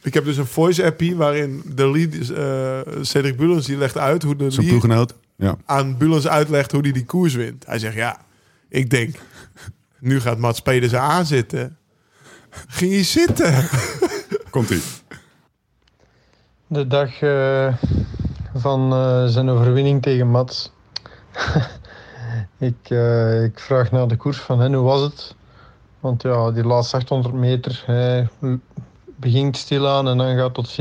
Ik heb dus een voice-appie waarin de lead, is, eh, Cedric Bullens, die legt uit hoe de
Zijn
lead
ploeggenoot. Ja.
aan Bulens uitlegt hoe hij die koers wint. Hij zegt, ja, ik denk, nu gaat Mats Pedersen aanzitten. Ging hij zitten?
Komt-ie.
De dag eh, van eh, zijn overwinning tegen Mats. ik, eh, ik vraag naar de koers van hen, hoe was het? Want ja, die laatste 800 meter hij l- begint stilaan en dan gaat tot 17%.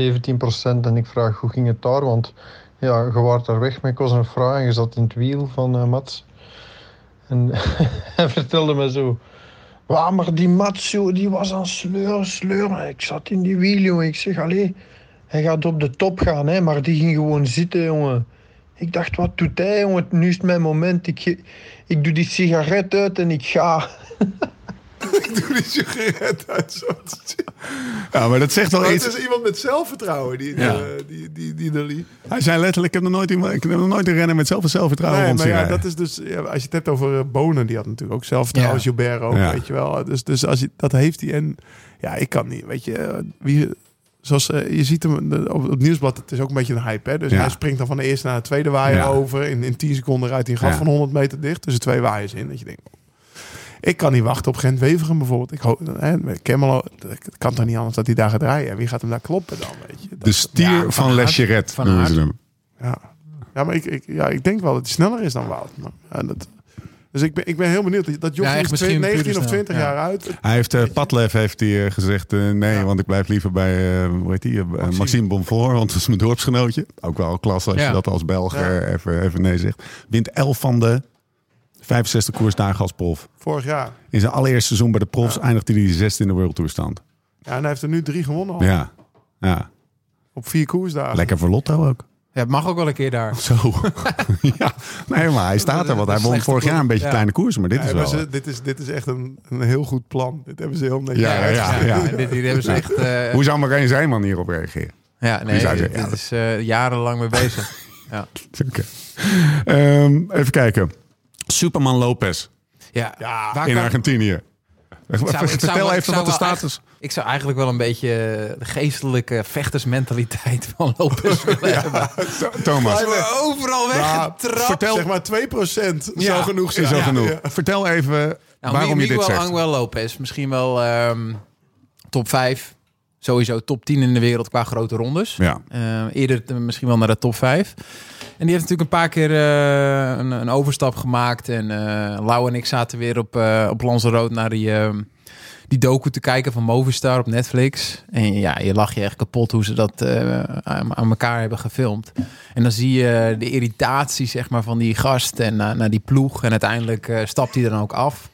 En ik vraag, hoe ging het daar? Want ja, je waart daar weg met Kos en Fra en je zat in het wiel van eh, Mats. En hij vertelde me zo... Waar, maar die Mats, joh, die was aan sleur, sleur. Ik zat in die wiel, joh. Ik zeg, allee... Hij gaat op de top gaan, hè, maar die ging gewoon zitten, jongen. Ik dacht, wat doet hij, jongen? Nu is het mijn moment. Ik, ge- ik doe die sigaret uit en ik ga.
Ik doe die sigaret uit. Zo.
Ja, maar dat zegt wel
Maar Oh, het
iets.
is iemand met zelfvertrouwen, die,
Ja.
eh, die, die, die, de lead.
Hij zei letterlijk, ik heb nog nooit, iemand- ik heb nog nooit een renner met zoveel zelfvertrouwen
Nee,
rond
maar
zien
ja,
rijden.
dat is dus, ja, als je het hebt over eh, Bonen, die had natuurlijk ook zelfvertrouwen.
Ja.
Gilbert ook,
Ja.
weet je wel. Dus, dus als je, dat heeft hij. En ja, ik kan niet, weet je. eh, Wie, zoals eh, je ziet hem eh, op het nieuwsblad, het is ook een beetje een hype. Hè? Dus
Ja.
hij springt dan van de eerste naar de tweede waaier
Ja.
over. In, in 10 seconden rijdt hij een gat
Ja.
van 100 meter dicht. Tussen twee waaiers in. Dat je denkt, oh. ik kan niet wachten op Gent Weveren bijvoorbeeld. Ik hoop, hè, met Kemmelo, het kan toch niet anders dat hij daar gaat rijden. Wie gaat hem daar kloppen dan, weet je. Dat-
de stier
Ja,
van,
Van Aert.
Les Chirret
Van
noemen ze
Aert.
hem.
Ja, ja maar ik, ik, ja, ik denk wel dat hij sneller is dan Wout. Maar, ja, dat, dus ik ben, ik ben heel benieuwd. Dat, dat jochie
Ja, echt
is twee-
misschien
19
puur
of
snel,
20
ja.
jaar uit.
Hij heeft, eh, Padlef heeft hij eh, gezegd, eh, nee,
Ja.
want ik blijf liever bij, eh hoe heet die, eh, Maxime. Bonfort, want dat is mijn dorpsgenootje. Ook wel klasse als je
Ja.
dat als Belg eh, even, even nee zegt. Wint 11 van de 65 koersdagen als prof.
Vorig jaar.
In zijn allereerste seizoen bij de profs eindigt hij die zesde in de World Tour stand.
Ja, en hij heeft er nu drie gewonnen al.
Ja. ja,
Op vier koersdagen.
lekker voor Lotto ook.
Ja, het mag ook wel een keer daar.
Zo. ja, nee, maar hij staat er, want hij won
Slechte
vorig jaar een beetje
ploeg.
kleine
Ja.
koers, maar dit
Ja,
is
maar
wel...
ze- dit, is, dit is echt een, een heel goed plan. Dit hebben ze heel netjes.
Ja, ja, ja.
Dit, hier hebben ze echt... eh,
Hoe zou Marijn Zijman hierop reageren?
ja, nee,
zou
dit,
zeggen, ja,
dit is eh, jarenlang mee bezig. ja.
Oké. Ehm, even kijken. Superman Lopez
Ja,
Ja,
waar
in
kan-
Argentinië.
zou- ik zou
Vertel
wel- ik
even
zou
wat de
wel
status...
Ik zou eigenlijk wel een beetje eh, de geestelijke vechtersmentaliteit van Lopez willen hebben.
Thomas,
Ze worden overal weggetrapt.
Nou, vertel-
Ah, Zeg maar 2%
Ja.
zou genoeg zijn.
is al
Ja.
genoeg. Vertel even
Nou,
waarom je
Miguel
dit zegt.
Angel Lopez, misschien wel ehm, top 5. Sowieso top 10 in de wereld qua grote rondes.
Ja,
Eh, eerder eh, misschien wel naar de top 5. En die heeft natuurlijk een paar keer eh, een, een overstap gemaakt. En eh Lau en ik zaten weer op, eh op Lanzarote naar die, ehm, die docu te kijken van Movistar op Netflix. En ja, je lag je echt kapot hoe ze dat eh, aan, aan elkaar hebben gefilmd. En dan zie je de irritatie zeg maar, van die gast en na- naar die ploeg. En uiteindelijk eh, stapt hij er dan ook af.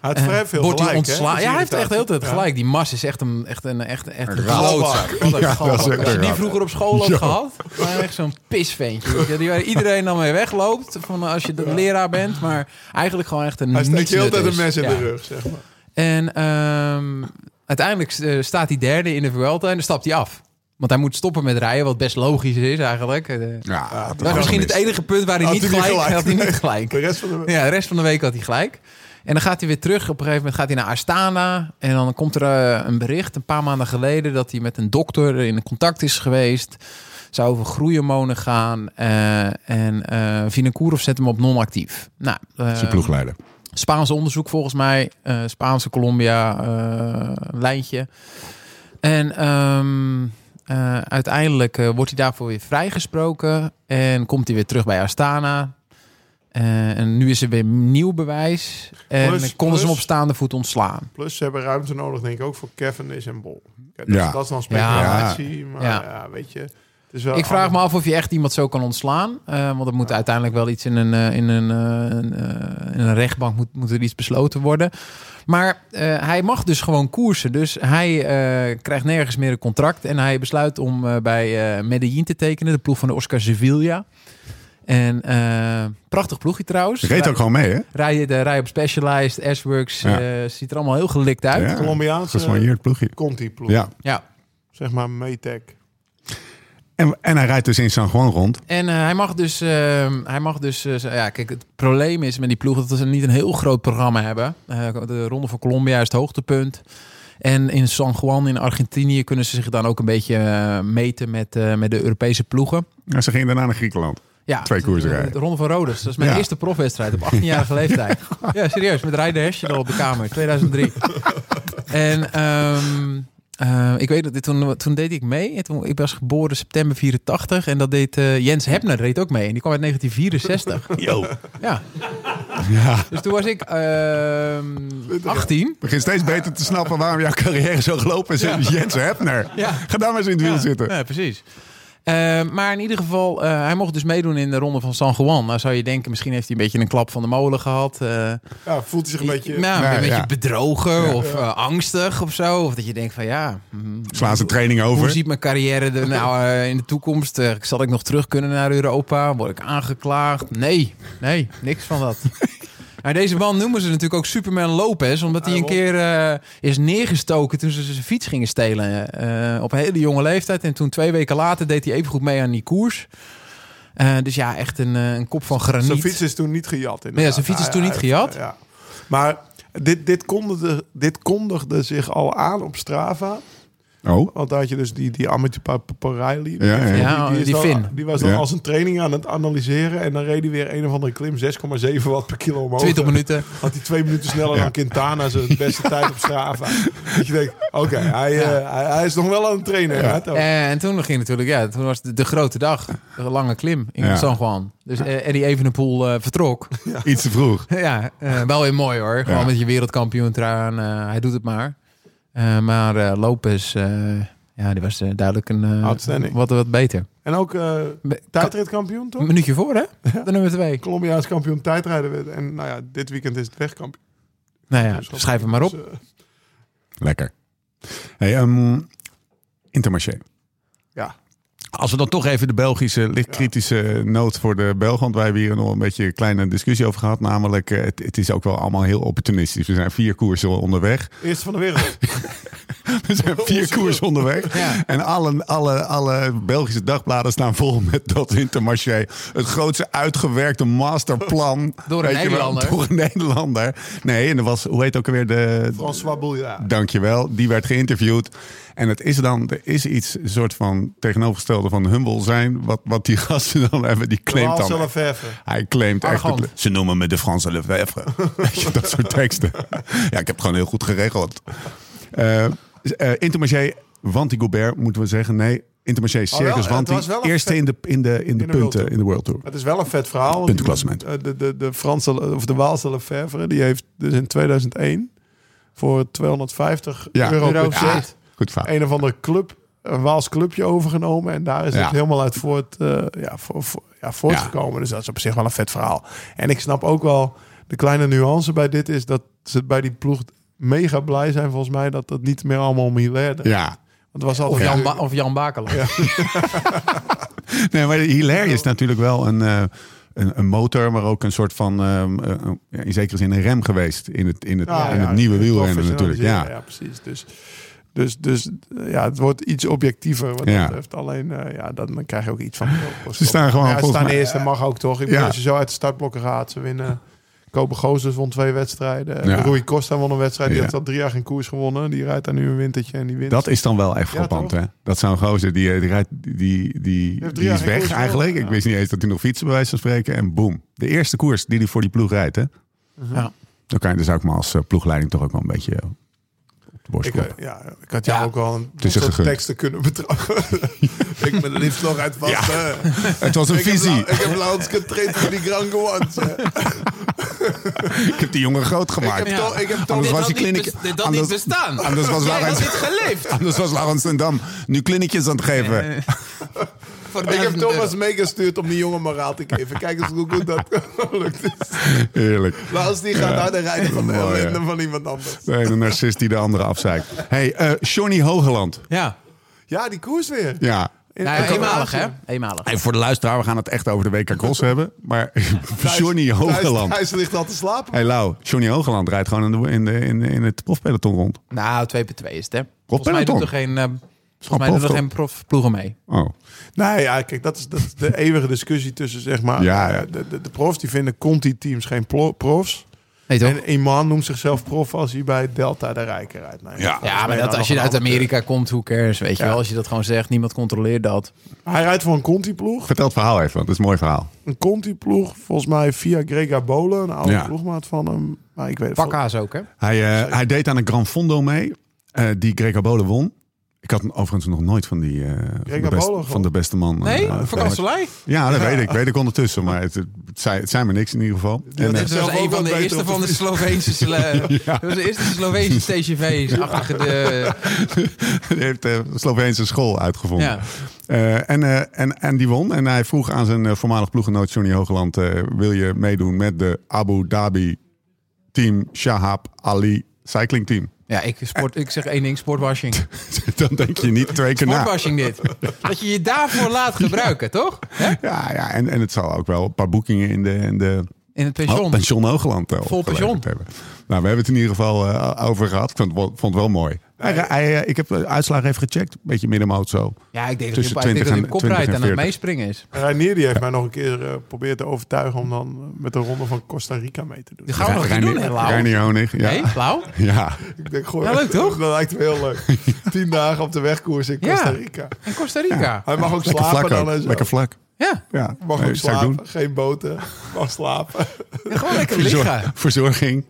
Hij had vrij
Eh,
veel
wordt
gelijk,
hij ontslagen?
hè? Dus
Ja, hij heeft echt heel de tijd
Ja.
gelijk. Die Mas is echt een, echt een, echt, echt een
raad.
galootzak. Wat een
Ja, dat is
galootzak.
echt
Als je
een
die
raad.
vroeger op school had
Ja.
gehad, dan echt zo'n pisventje. weet je, Die waar iedereen dan mee wegloopt van eh, als je de leraar bent, maar eigenlijk gewoon echt een
Hij steekt heel de
nietsnut
tijd een
is.
mes in
Ja.
de rug, zeg maar.
En ehm, uiteindelijk eh, staat hij derde in de Vuelta en dan stapt hij af. Want hij moet stoppen met rijden, wat best logisch is eigenlijk. Eh,
ja dat
dat is misschien het
enige.
enige punt waar hij
Had
niet
hij niet
gelijk,
gelijk.
had hij niet gelijk.
De rest van de...
Ja, de rest van de week had hij gelijk. En dan gaat hij weer terug. Op een gegeven moment gaat hij naar Astana. En dan komt er eh, een bericht een paar maanden geleden dat hij met een dokter in contact is geweest. Zou over groeihormonen gaan. eh, en eh Vinokourov zet hem op non-actief. Nou, eh,
Zijn ploegleider.
Spaans onderzoek volgens mij. eh, Spaanse Colombia eh, lijntje. En ehm, eh, uiteindelijk eh, wordt hij daarvoor weer vrijgesproken. En komt hij weer terug bij Astana. Eh, en nu is er weer nieuw bewijs. En
Plus,
konden ze hem
plus.
op staande voet ontslaan.
Plus ze hebben ruimte nodig, denk ik, ook voor Kevin is en Bol. Kijk, dat,
Ja.
is, dat is dan speculatie, maar ja.
Ja.
weet je. Het is wel
Ik vraag me
allemaal-
af of je echt iemand zo kan ontslaan. Eh, want er moet uiteindelijk wel iets in een, eh, in een, eh, een, eh, in een rechtbank moet, moet er iets besloten worden. Maar eh, hij mag dus gewoon koersen. Dus hij eh, krijgt nergens meer een contract. En hij besluit om eh, bij eh Medellin te tekenen. De ploeg van de Oscar Sevilla. En eh, prachtig ploegje trouwens.
Reed ook gewoon mee, hè?
Rijden, de rij op Specialized, Ashworks.
Ja.
eh, ziet er allemaal heel gelikt uit.
Ja,
eh,
Colombiaanse
Gesoigneerd ploegje.
Conti-ploeg.
Ja.
Ja.
Zeg maar Maytag.
En, en hij rijdt dus in San Juan rond.
En eh, hij mag dus, eh, hij mag dus eh, z- ja, kijk, het probleem is met die ploeg dat ze niet een heel groot programma hebben. Eh, de Ronde van Colombia is het hoogtepunt. En in San Juan in Argentinië kunnen ze zich dan ook een beetje eh, meten met, eh, met de Europese ploegen.
En ze gingen daarna naar Griekenland.
Ja,
Twee koersen
de-
rijden.
De Ronde van Rodes. Dat is mijn
Ja.
eerste profwedstrijd op 18-jarige leeftijd. Ja, serieus. Met Rijder Hesjedal op de kamer. 2003. en ehm, eh, ik weet dat dit, toen, toen deed ik mee. En Toen, ik was geboren september 84. En dat deed eh, Jens Hebner deed ook mee. En die kwam uit 1964.
Yo.
Ja.
Ja.
Dus toen was ik ehm 18.
Ik begin steeds beter te snappen waarom jouw carrière zo gelopen is. in Jens Hebner.
Ja.
Ga daar maar eens in het wiel zitten.
Ja, precies. Eh, maar in ieder geval, eh, hij mocht dus meedoen in de ronde van San Juan. Nou zou je denken, misschien heeft hij een beetje een klap van de molen gehad. eh,
Ja, voelt hij zich een beetje...
nou,
Nee,
een beetje
ja.
bedrogen of eh, angstig of zo. Of dat je denkt van ja,
Mhm.
mm,
Slaan ze training
hoe
over.
ziet mijn carrière er nou eh, in de toekomst? Eh, zal ik nog terug kunnen naar Europa? Word ik aangeklaagd? Nee, nee, niks van dat. Maar deze man noemen ze natuurlijk ook Superman Lopez, omdat hij
Ah,
een keer eh, is neergestoken toen ze zijn fiets gingen stelen. eh, op een hele jonge leeftijd. En toen twee weken later deed hij even goed mee aan die koers. Eh, dus ja, echt een, eh, een kop van graniet.
Zijn fiets is toen niet gejat. inderdaad.
Ja, zijn fiets is toen niet gejat.
Ja. Maar dit, dit, kondigde, dit kondigde zich al aan op Strava.
Oh.
Want daar had je dus die, die Amit Pa- Pa- Paraili.
Ja, ja.
Ja,
is
die
dan-
Finn.
die was dan
Ja.
als een training aan het analyseren. En dan reed hij weer een of andere klim. 6,7 watt per kilo omhoog.
20 minuten.
Had hij twee minuten sneller
Ja.
dan Quintana. Zijn beste tijd op Strava. Dat je denkt, oké, hij,
Ja.
eh, hij, hij is nog wel aan het trainen. hè, toch?
Oh.
Eh, en toen ging natuurlijk, ja, toen was de, de grote dag. De lange klim in
Ja.
San Juan. Dus eh, Eddie Evenepoel eh, vertrok.
Iets te vroeg.
ja, eh, wel weer mooi hoor. Gewoon
Ja.
met je wereldkampioen traan. hij doet het maar. Eh, maar eh, Lopez, eh, ja, die was eh, duidelijk een eh,
Outstanding.
wat, wat beter.
En ook eh
Be-
tijdritkampioen, toch?
Een minuutje voor, hè? De nummer twee.
Colombiaans kampioen tijdrijden. werd. En nou ja, dit weekend is het wegkampioen.
Nou ja, schrijf hem maar op.
Dus, eh,
Lekker. Hey, ehm, Intermarché.
Ja.
Als we dan toch even de Belgische lichtkritische noot voor de Belgen. Want wij hebben hier nog een beetje een kleine discussie over gehad. Namelijk, eh, het, het is ook wel allemaal heel opportunistisch. We zijn vier koersen onderweg.
eerste van de wereld.
We zijn vier koers onderweg.
Ja.
En alle, alle, alle Belgische dagbladen staan vol met dat Intermarché. Het grootste uitgewerkte masterplan.
Door een
Weet je wel,
Nederlander.
door een Nederlander. Nee, en er was, hoe heet ook alweer de...
François Bouillard.
Dankjewel, die werd geïnterviewd. En het is dan, er is iets een soort van tegenovergestelde van humble zijn. Wat, wat die gasten dan hebben, die claimt
Klaas
dan.
Lefevre.
Hij claimt echt...
Arrogant.
het- ze noemen me de Franse Lefebvre. Weet je, dat soort teksten. Ja, ik heb het gewoon heel goed geregeld. Eh eh, Intermarché, Wanty Gobert, moeten we zeggen. Nee, Intermarché,
Oh, wel,
Circus
het
Wanty.
was wel een
Eerste in de, in de, in de
in de World
punten
Tour.
in de World Tour.
Het is wel een vet verhaal. want
Puntenklassement.
die- De, de, de Franse of de Waalse Lefevre, die heeft dus in 2001 voor 250
Ja.
euro
Euro
budget
cent.
Goed verhaal.
een of andere club, een Waals clubje overgenomen. En daar is
Ja.
het helemaal uit voort, eh, ja, voor, voor- ja, voortgekomen. Dus dat is op zich wel een vet verhaal. En ik snap ook wel, de kleine nuance bij dit is dat ze bij die ploeg mega blij zijn volgens mij dat dat niet meer allemaal om Hilaire draait.
Ja.
Want het was
Of
altijd
Jan, ba of Jan Bakeland.
Nee, maar Hilaire is natuurlijk wel een, eh, een, een motor, maar ook een soort van, ehm, eh, ja, in zekere zin, een rem geweest in het, in het,
Ja,
in
Nou ja,
het nieuwe wielrennen natuurlijk.
professionaliseren,
Ja.
ja, precies. Dus, dus, dus eh, ja, het wordt iets objectiever wat
Ja.
dat betreft. Alleen, eh, ja, dan, dan krijg je ook iets van...
Ze staan gewoon
Ja, ze
volgens
staan
mij-
eerst, dat mag ook toch. Ik
Ja.
bedoel, Als je zo uit de startblokken gaat, ze winnen... Kopen Gozers won twee wedstrijden.
Ja.
Rui Costa won een wedstrijd. Die
Ja.
heeft al drie jaar geen koers gewonnen. Die rijdt daar nu een wintertje en die wint.
Dat is dan wel echt
Ja,
frappant,
toch?
hè? Dat zou een gozer, die, eh, die, rijdt- die, die,
heeft drie
die is
jaar geen koers
weg
gewonnen,
eigenlijk. Ik
ja.
wist niet eens dat hij nog fietsen bij wijze van spreken. En boem, de eerste koers die hij voor die ploeg rijdt, hè?
Mhm.
Ja.
Dan, kan je, dan zou ik me als eh, ploegleiding toch ook wel een beetje eh, op de borst
Ik,
kloppen.
eh, ja, ik had jou
Ja.
ook al een
is echt
soort
gegund.
teksten kunnen betrappen. ik ben liefst nog uit vast.
Ja. Het was een visie.
Ik heb laatst getraind voor die Grand Gewans.
Ik heb die jongen groot gemaakt.
Ja.
ik heb
Anders was die
niet
kliniek...
bes- dit had
anders-
niet bestaan.
Anders was
Jij had
Laurens...
dit geleefd.
Anders was Laurens ten Dam nu kliniekjes aan het geven.
Voor
Ik heb
1000 euro.
Thomas meegestuurd om die jongen moraal te geven. Kijk eens hoe goed dat lukt.
Heerlijk.
Laat die gaat harder rijden van,
Mooi,
de-
hè?
dan van iemand anders.
De ene narcist die de andere afzeikt. hey, eh Johnny Hogeland.
Ja,
Ja, die koers weer.
Ja.
nou, ja,
Kroatië.
eenmalig hè? Eenmalig.
En voor de luisteraar, we gaan het echt over de WK Cross hebben. Maar Johnny
Thijs-
Hogeland.
Thijs ligt al te slapen.
hey Lau, Johnny Hogeland rijdt gewoon in, de, in, de, in, in het profpeloton rond.
Nou, 2 per 2 is het, hè? Volgens mij doet
peloton.
er geen eh, Volgens mij doen dat geen profploegen mee.
Oh,
Nou ja, kijk, dat is, dat is de eeuwige discussie tussen zeg maar.
Ja, ja.
eh, De, de, de profs die vinden Conti-teams geen plo- profs.
Nee, toch?
En Iman noemt zichzelf prof als hij bij Delta de Rijker rijdt. Nou,
Ja.
volgens
Ja,
mij
maar
nou
dat, als
nog
je
een
uit
amateur.
Amerika komt, hoe cares, weet je
Ja.
wel. Als je dat gewoon zegt, niemand controleert dat.
Hij rijdt voor een Conti-ploeg.
vertel het verhaal even, want het is een mooi verhaal.
Een Conti-ploeg, volgens mij via Grega Bolen, een oude
Ja.
ploegmaat van hem. Maar ik weet het
Pakka's ook, hè?
Hij, eh, hij deed aan een Gran Fondo mee, eh, die Greco Bole won. Ik had hem overigens nog nooit van, die, eh, van, de,
Bole
best-
gewonnen.
van de beste man. eh,
Nee,
eh,
voor Kanselij.
Ja, dat weet ik. Weet ik ondertussen. Maar het, het, zei, het zijn me niks in ieder geval. En, eh,
Dit was
zelf ook
een
wel
van de
beter
eerste
op
van de Sloveense... sle- eh, Dat was de eerste Sloveense TGV's achter de...
die heeft de Sloveense school uitgevonden.
Ja.
Eh, en, eh, en, en die won. En hij vroeg aan zijn eh, voormalig ploeggenoot Johnny Hoogland... eh, wil je meedoen met de Abu Dhabi team Shahab Ali cycling team?
Ja, ik, sport, ik zeg één ding, sportwashing.
Dan denk je niet twee keer na.
Sportwashing dit. Dat je je daarvoor laat gebruiken, toch? Hè?
Ja, ja en, en het zal ook wel een paar boekingen in de, in de
In het
Oh,
pension.
pension Hoogland. eh,
Vol
opgeleverd
pension.
Hebben. Nou, we hebben het in ieder geval eh, over gehad. Ik vond het wel, vond het wel mooi. Hij, hij, eh, ik heb de uitslagen even gecheckt. Beetje middenmoot zo.
Ja, ik denk dat je,
Tussen
ik denk
20
dat je
en-
op kop rijdt
20
en
en
aan het
40.
meespringen is.
Reinier die heeft mij nog een keer eh, geprobeerd te overtuigen om dan eh, met de ronde van Costa Rica mee te doen.
Die gaan we nog een keer doen, hè, Lau?
Reinier Honig. Ja.
Nee, Lau?
ja.
Ik denk gewoon,
Ja, leuk, toch?
Dat lijkt me heel leuk. Tien dagen op de wegkoers in
Ja.
Costa Rica.
In Costa Rica.
Hij mag ook
Lekker
slapen
vlak
dan
ook.
en zo.
Lekker vlak.
Ja,
Ja.
Mag
Nee,
ook
zou ik
slapen, geen boten. Mag slapen.
gewoon lekker
Verzor-
liggen.
verzorging.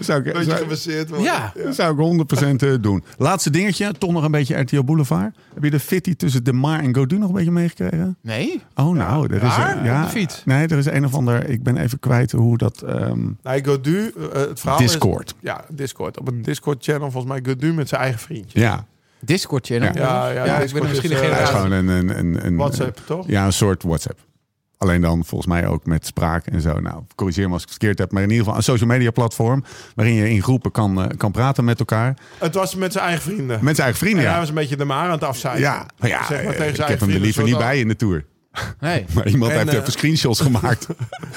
Zou ik,
Beetje
zou,
gebaseerd worden.
Ja.
zou ik 100% eh, doen. Laatste dingetje. Toch nog een beetje RTL Boulevard. Heb je de fitty tussen De Maar en Godu nog een beetje meegekregen?
Nee?
Oh, nou. Er is,
Waar?
eh, ja,
Op de fiets?
Nee, er is een of ander... Ik ben even kwijt hoe dat... ehm,
Nee, Godu, eh, het verhaal
Discord.
is... Ja, Discord. Op een Discord-channel volgens mij Godu met zijn eigen vriendje.
ja.
Discord channel.
Ja, ja,
ja ik
Discord
ben er misschien
is,
een
eh,
Hij is
Ja.
gewoon
generatie.
een, een, een, een-
WhatsApp, toch?
Ja, een soort WhatsApp. Alleen dan volgens mij ook met spraak en zo. Nou, corrigeer me als ik het verkeerd heb. Maar in ieder geval een social media platform... waarin je in groepen kan, eh, kan praten met elkaar.
Het was met zijn eigen vrienden.
Met zijn eigen
en
vrienden,
hij
ja.
was een beetje de maar aan het afzijden.
Ja, maar ja
Zeg maar tegen zijn
eh, ik
eigen
heb hem er
vrienden,
liever niet
zodat-
bij in de Tour.
Nee.
Maar iemand
En,
heeft
eh,
even screenshots gemaakt.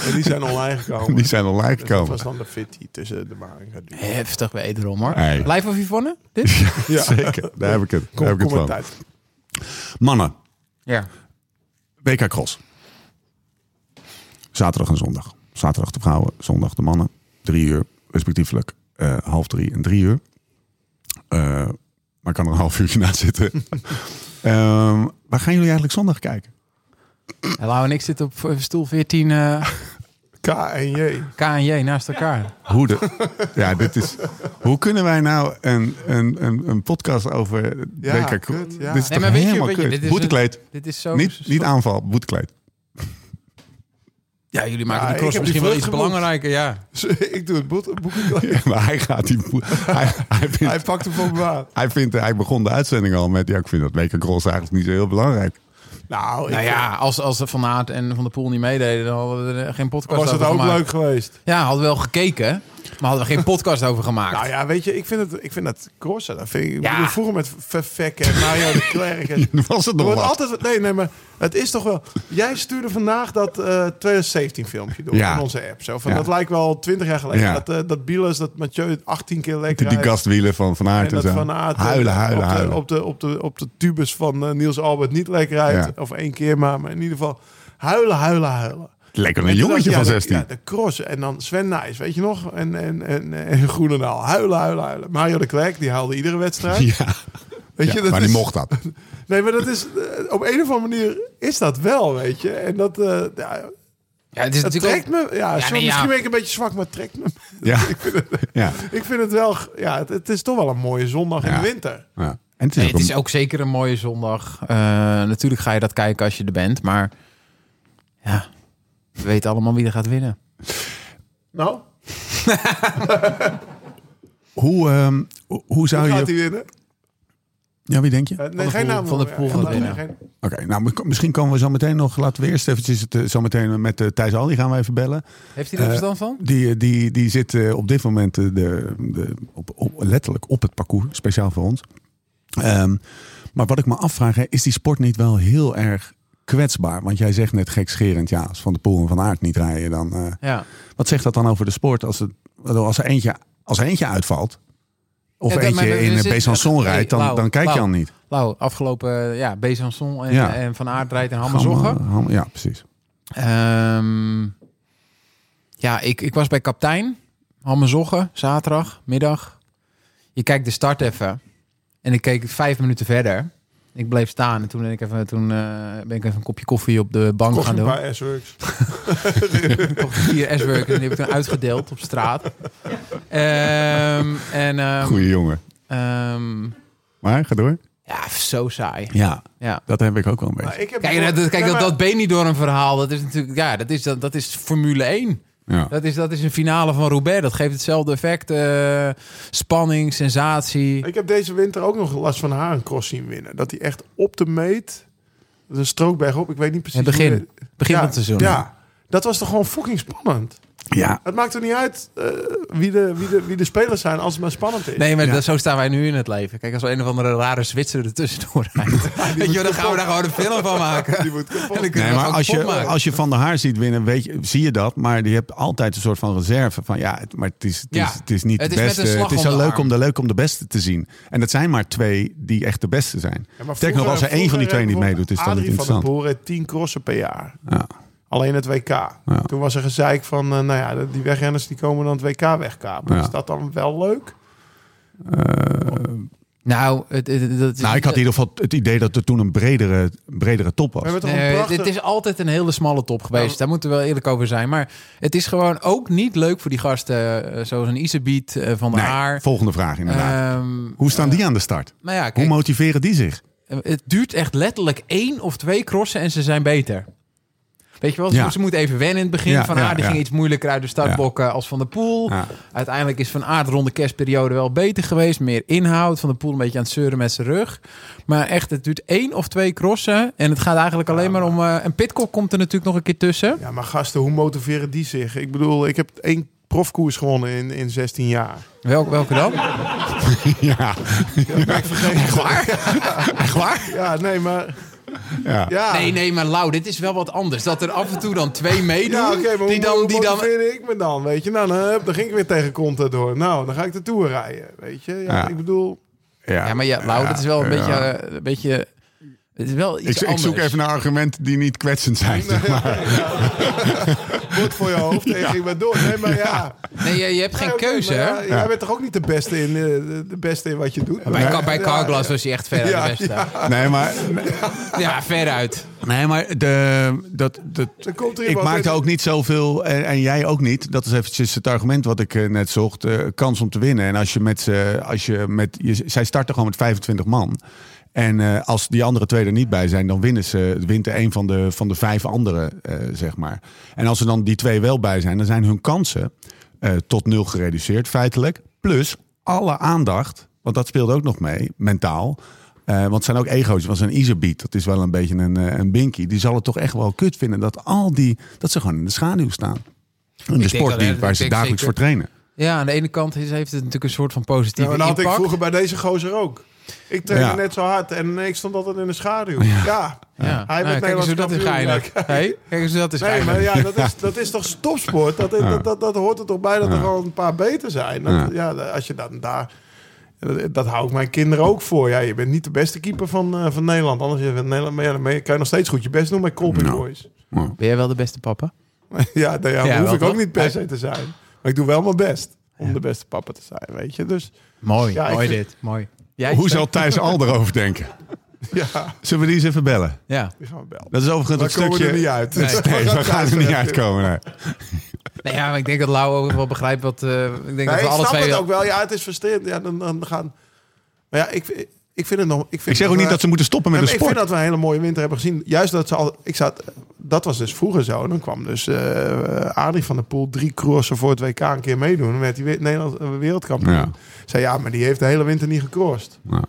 En die zijn online gekomen.
Die zijn online
Dus dat
gekomen.
was dan de fitty tussen de maar en Godu.
Heftig wederom, hoor.
Hey.
Live of Yvonne? Dit?
Zeker, daar heb ik het, daar heb
Kom,
ik het
kom het
van.
uit.
Mannen,
Ja.
WK Cross. Zaterdag en zondag. Zaterdag de vrouwen, zondag de mannen. Drie uur, respectievelijk eh, half drie en drie uur. Eh, maar ik kan er een half uurtje na zitten. Ehm, waar gaan jullie eigenlijk zondag kijken?
En Lau en ik zitten op eh, stoel 14 eh,
K en J.
K en J naast elkaar.
Hoe, de, ja, dit is, hoe kunnen wij nou een, een, een, een podcast over
Ja,
WK Cross...
kut, ja.
Dit is toch
Nee, maar weet je,
helemaal
weet je,
kut?
dit is Oh,
Boetekleed.
Dit is zo...
Niet, niet aanval, boetekleed.
Ja, jullie maken
Ja,
de
ik
cross
heb die
misschien wel iets
vlucht geboekt.
belangrijker, ja.
Dus ik doe het boek. boek-
Ja, maar hij gaat die... boe- Hij, hij vindt-
Hij pakt hem voor me aan.
Hij, vindt, hij begon de uitzending al met... Ja, ik vind dat WK Cross eigenlijk niet zo heel belangrijk.
Nou, ik
Nou ja, als, als Van Aert en Van der Poel niet meededen, dan hadden we er geen podcast
was het
over
ook
gemaakt.
leuk geweest.
Ja, hadden we wel gekeken, maar hadden we geen podcast over gemaakt.
Nou ja, weet je, ik vind, het, ik vind dat crossen. Dat vind ik, ik
Ja.
bedoel, vroeger met Vervek en Mario de Klerk. En,
Was het nog
er wordt
wat?
altijd, nee, nee, maar het is toch wel... Jij stuurde vandaag dat eh 2017 filmpje door
Ja.
in onze app. Zo, van,
Ja.
Dat lijkt wel twintig jaar geleden.
Ja.
Dat, eh, dat Bielers, dat Mathieu 18 keer lekker
Die, die gastwielen van Van Aert
En
en,
dat
zo.
Van Aert, eh,
huilen, huilen,
op de,
huilen.
Op de, op, de, op de tubus van eh, Niels Albert niet lekker uit.
Ja.
Of één keer maar, maar in ieder geval huilen, huilen, huilen.
Lekker een
En toen
jongetje van
dacht ik,
16.
Ja, de, ja, de cross en dan Sven Nijs, weet je nog? En, en, en, en Groenendaal. Huilen, huilen, huilen. Mario de Klerk, die haalde iedere wedstrijd.
Ja,
weet je,
ja,
dat
maar
is,
die mocht dat.
Nee, maar dat is, eh, op een of andere manier is dat wel, weet je. En dat, eh, ja,
ja, het is
dat
natuurlijk
trekt
ook-
me. Ja, sorry,
nee, ja.
misschien ben ik een beetje zwak, maar het trekt me.
Ja. ja.
Ik vind het wel, g- ja, het, het is toch wel een mooie zondag in
Ja.
de winter.
ja. En het is,
Nee,
ook
het is
een-
ook zeker een mooie zondag. Eh, natuurlijk ga je dat kijken als je er bent, maar ja, we weten allemaal wie er gaat winnen.
Nou,
Hoe, ehm, hoe- hoe zou
gaat
je...
hij winnen?
Ja, wie denk je?
Eh,
Oké,
nee,
de
geen
pool-
naam
van de
noemen,
pool
ja.
gaat
Geen-
winnen.
geen-
nou, mi- misschien komen we zo meteen nog... Laten we eerst eventjes het, eh, zo meteen met eh, Thijs Al. Die gaan we even bellen.
Heeft hij er verstand van?
Die, eh, die, die zit eh, op dit moment eh, de, de, op, op- letterlijk op het parcours, speciaal voor ons. Ehm, maar wat ik me afvraag, hè, is die sport niet wel heel erg kwetsbaar? Want jij zegt net gekscherend, ja, als Van de Poel en Van Aert niet rijden, dan... eh,
Ja.
wat zegt dat dan over de sport als, het, als, er, eentje, als er eentje uitvalt? Of
Ja, dat- maar
eentje
we- we
in eh,
zitten-
Besançon
Nee,
rijdt, dan,
Lau,
dan kijk je al
Lau.
niet.
Lau, afgelopen eh, ja, Besançon en,
Ja.
en Van Aardrijd en Hammerzoggen.
Ham- ham- ja, precies.
Ehm, ja, ik, ik was bij kaptein. Hammezoggen, zaterdag, middag. Je kijkt de start even. En ik keek vijf minuten verder. Ik bleef staan en toen, ben ik even, toen eh, ben ik even een kopje koffie op de bank
Kost
gaan
een
doen.
paar S-Works.
Kocht vier S-werken en die heb ik toen uitgedeeld op straat. Ehm, en, ehm,
Goeie jongen.
ehm,
Maar ga door.
ja, zo saai.
Ja,
Ja.
dat heb ik ook wel een
Maar
beetje.
ik heb
Kijk, en dat, kijk
Nee,
dat,
maar-
dat Beni door een verhaal, dat is natuurlijk, ja, dat is, dat, dat is Formule 1.
Ja.
Dat is, dat is een finale van Roubaix. Dat geeft hetzelfde effect. eh, spanning, sensatie.
Ik heb deze winter ook nog last van haar een cross zien winnen. Dat hij echt op de meet, de strookberg op, ik weet niet precies.
Het begin.
hoe de-
Begin
ja,
van het seizoen.
Ja, dat was toch gewoon fucking spannend.
ja,
Het maakt er niet uit eh, wie, de, wie, de, wie de spelers zijn als het maar spannend is.
Nee, maar
Ja.
dat, zo staan wij nu in het leven. Kijk, als er een of andere rare Zwitser ertussendoor rijdt. Weet je, dan gaan we daar gewoon een film van maken.
Die wordt kapot.
En dan
Nee,
kunnen we
maar
gewoon
als je,
kapot maken.
als je Van der Haar ziet winnen, weet je, zie je dat. Maar die hebt altijd een soort van reserve. Van, ja, het, maar het is, het,
Ja.
is, het is niet
Het
de
is met
beste.
een slag
het is
om
zo
de
leuk
arm.
om de, leuk om de beste te zien. En dat zijn maar twee die echt de beste zijn.
Ja, maar
Sterker nog, als er één van die twee niet meedoet, is dat niet
Adrie van
interessant.
der Poel reed 10 crossen per jaar.
Ja.
Alleen het WK.
Ja.
Toen was er gezeik van, eh, nou ja, die wegrenners die komen dan het WK wegkapen.
Ja.
Is dat dan wel leuk?
Nou, het, het- het- het-
Eh, Nou, ik had in ieder geval het idee dat er toen een bredere, bredere top
We hebben
was.
toch een
Nee,
prachtig... Nou,
het is altijd een hele smalle top geweest. Daar moeten we wel eerlijk over zijn. Maar het is gewoon ook niet leuk voor die gasten. eh, Zoals een Isebiet eh, van de
Nee,
Haar.
volgende vraag inderdaad.
Ehm,
Hoe staan die aan de start?
maar ja, kijk,
Hoe motiveren die zich?
Het duurt echt letterlijk één of twee crossen en ze zijn beter. Weet je wel, ze,
Ja.
ze moeten even wennen in het begin.
Ja,
van
ja,
Aard die
ja.
ging iets moeilijker uit de startbokken als Van der Poel.
Ja.
Uiteindelijk is Van Aard rond de kerstperiode wel beter geweest. Meer inhoud. Van der Poel een beetje aan het zeuren met zijn rug. Maar echt, het duurt één of twee crossen. En het gaat eigenlijk alleen maar om... eh, een pitcock komt er natuurlijk nog een keer tussen.
Ja, maar gasten, hoe motiveren die zich? Ik bedoel, ik heb één profkoers gewonnen in, in 16 jaar.
Wel, welke dan?
Ja,
Echt waar?
echt waar?
Ja, nee, maar...
Ja.
Ja,
Nee, nee, maar Lau, dit is wel wat anders. Dat er af en toe dan twee meedoen.
ja oké, maar
die dan, die dan,
motiveerde ik me dan, weet je? Nou, dan, hup, dan ging ik weer tegen Contador. Nou, dan ga ik de Tour rijden, weet je? Ja,
Ja.
ik bedoel...
Ja, maar ja, Lau, dat is wel een
ja.
beetje... eh, een beetje het is wel iets
Ik, ik
anders.
zoek even naar argumenten die niet kwetsend zijn. zeg maar.
Wordt voor je hoofd en je ging maar door. Nee, maar ja...
Nee, je, je hebt geen
Nee, oké,
keuze,
maar
hè?
ja, Jij bent toch ook niet de beste in, eh, de beste in wat je doet?
Bij, Ka- bij
Ja,
Carglass was hij echt ver
Ja,
uit de beste. Ja,
Nee, maar,
veruit.
nee, maar de, dat, dat,
Dan komt er
ik
iemand
maakte
en-
ook niet zoveel, en, en jij ook niet. Dat is eventjes het argument wat ik eh, net zocht. eh, kans om te winnen. En als je met ze, als je met, je, zij starten gewoon met 25 man. En eh, als die andere twee er niet bij zijn, dan winnen ze, wint er een van de, van de vijf anderen, eh, zeg maar. En als er dan die twee wel bij zijn, dan zijn hun kansen eh, tot nul gereduceerd, feitelijk. Plus alle aandacht, want dat speelde ook nog mee, mentaal. Eh, want het zijn ook ego's. Want zo'n Iserbeat, dat is wel een beetje een, eh, een binky. Die zal het toch echt wel kut vinden dat al die... dat ze gewoon in de schaduw staan. In de
denk
sport
dat,
die-
hè, dat
waar ze
denk ik
dagelijks
zeker.
voor trainen.
Ja, aan de ene kant is, heeft het natuurlijk een soort van
Ja,
positieve
maar dat had ik
impact.
vroeger bij deze gozer ook. Ik trainde
Ja.
net zo hard en ik stond altijd in de schaduw. Ja,
ja.
hij
nou,
werd
kijk eens hoe
Nederlands
dat is
kampioen.
geinig.
Ja,
Hey, kijk eens hoe dat is
Nee,
geinig.
maar ja, dat is, dat is toch topsport? Dat, dat, dat, dat hoort er toch bij dat er gewoon een paar beter zijn? Dat- ja, als je dan daar... Dat, dat hou ik mijn kinderen ook voor. Ja, je bent niet de beste keeper van, eh, van Nederland. Anders je bent Nederland, maar ja, dan kan je nog steeds goed je best doen bij Colby
Nou.
Boys.
Ben jij wel de beste papa?
Ja, daar ja,
Ja,
hoef
wel,
ik ook
toch?
niet per se te zijn. Maar ik doe wel mijn best om de beste papa te zijn, weet je. Dus
Mooi,
Ja, ik
mooi
vind-
dit. Mooi. Jij?
Hoe zal Thijs Al erover denken?
ja,
Zullen we die eens even bellen?
Ja.
die gaan we bellen.
Dat is overigens
Maar
het
komen we
stukje...
er niet uit.
Nee, nee, we gaan er niet uitkomen. nee.
Nee, ja, maar ik denk dat Lau ook wel begrijpt wat... eh, ik denk dat
Nee,
we
ik
alle
snap
twee
het
wel-
ook wel. Ja, het is frustrerend. Ja, dan, dan gaan... Maar ja, ik, ik vind het nog... Ik, vind
Ik zeg ook niet dat ze moeten stoppen met
Ja,
de
maar ik vind
sport.
dat we een hele mooie winter hebben gezien. Juist dat ze al. Ik zat, dat was dus vroeger zo. Dan kwam dus eh Adrie van der Poel drie crossen voor het WK een keer meedoen. Dan werd die we- Nederland eh, wereldkampioen.
Ja.
Zei ja, maar die heeft de hele winter niet gecrossed.
Ja.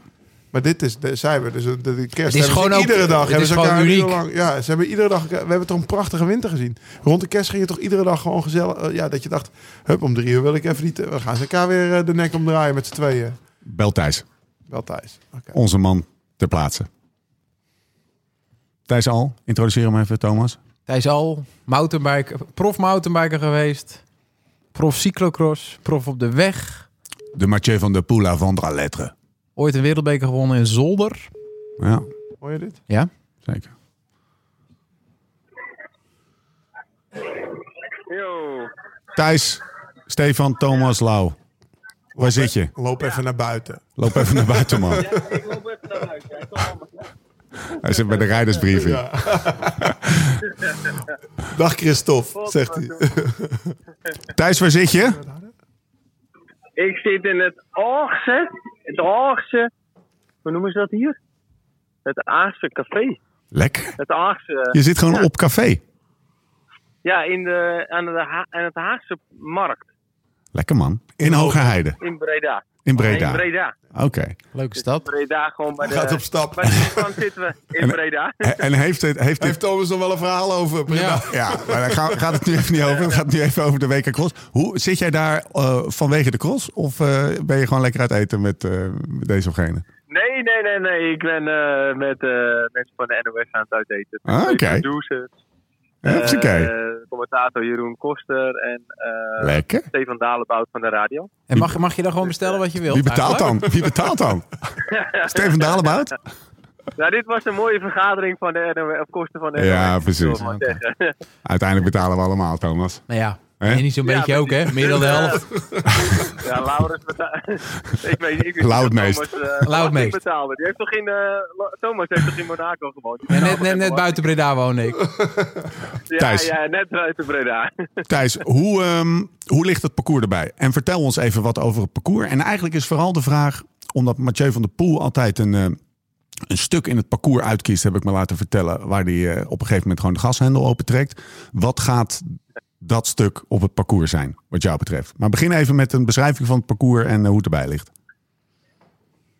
Maar dit is, de, zijn we dus de, de kerst. hebben ze
gewoon ook-
iedere dag.
het
hebben
is
ze
gewoon
elkaar een uur
uniek.
lang- ja, ze hebben iedere dag. elkaar- We hebben toch een prachtige winter gezien. Rond de kerst ging je toch iedere dag gewoon gezellig. eh, ja, dat je dacht, hup, om drie uur wil ik even niet. We gaan ze elkaar weer eh, de nek omdraaien met z'n tweeën.
Bel Thijs,
Wel thuis. Oké.
onze man ter plaatse. Thijs Al, introduceer hem even, Thomas.
Thijs Al, mountainbiker, prof mountainbiker geweest. Prof cyclocross, prof op de weg.
De Mathieu van der Poula van der Lettre.
Ooit een wereldbeker gewonnen in Zolder.
Ja,
Hoor je dit?
Ja?
zeker.
Yo,
Thijs, Stefan, Thomas, Lau. Waar zit je?
Loop even naar buiten.
Loop even naar buiten, man.
ik loop even naar buiten. Hij zal allemaal klaar.
Hij zit bij de rijdersbriefing.
Ja. Dag Christophe, zegt hij.
Thijs, waar zit je?
Ik zit in het Aagse, het Aagse, hoe noemen ze dat hier? Het Aagse café.
Lekker.
Het Aagse,
Je zit gewoon op café.
ja, in de, aan, de, Ha- aan het Haagse markt
Lekker, man. In Hoge Heide.
in Breda.
In
In
Breda.
Breda.
Oké.
Leuke stad.
Breda, gewoon bij de...
Gaat op stap.
Bij de toegang zitten we in
En-
Breda.
En- En heeft dit... Heeft dit
Heeft Thomas nog wel een verhaal over? Prima.
Ja.
ja, maar daar gaan- gaat het nu even niet over. Het gaat nu even over de WK Cross. Hoe, zit jij daar eh, vanwege de cross? Of eh, ben je gewoon lekker uit eten met eh, met deze of gene?
Nee, nee, nee, nee. Ik ben eh, met eh, mensen van de NOS aan het uiteten.
Ah, oké.
Twee Producers.
Hups,
eh,
oké.
commentator Jeroen Koster en eh,
Lekker.
Stefan Dalenbout van de radio.
En mag, mag je dan gewoon bestellen wat je wilt?
Wie betaalt
eigenlijk?
dan? Wie betaalt dan? Steven Dalebout?
Nou, dit was een mooie vergadering van de NOS, op kosten van de NOS.
Ja, precies.
wil ik maar zeggen.
Uiteindelijk betalen we allemaal, Thomas.
Nou ja,
Hè?
en niet zo'n
Ja,
beetje ook, hè? Meer dan de
Dus, eh,
helft.
ja, Laurens betaalt. ik weet niet. Ik weet
Lauwert
niet of
meest.
Thomas, eh,
Lauwert meest.
betaalde. Die heeft toch in, eh, La- Thomas heeft toch in Monaco gewoond?
Ja, net, net, net buiten Breda woon ik.
Ja,
Thijs.
ja, net buiten Breda.
Thijs, hoe, ehm, hoe ligt het parcours erbij? En vertel ons even wat over het parcours. En eigenlijk is vooral de vraag, omdat Mathieu van der Poel altijd een, eh, een stuk in het parcours uitkiest, heb ik me laten vertellen, waar hij eh, op een gegeven moment gewoon de gashendel opentrekt. Wat gaat dat stuk op het parcours zijn, wat jou betreft? Maar begin even met een beschrijving van het parcours en eh, hoe het erbij ligt.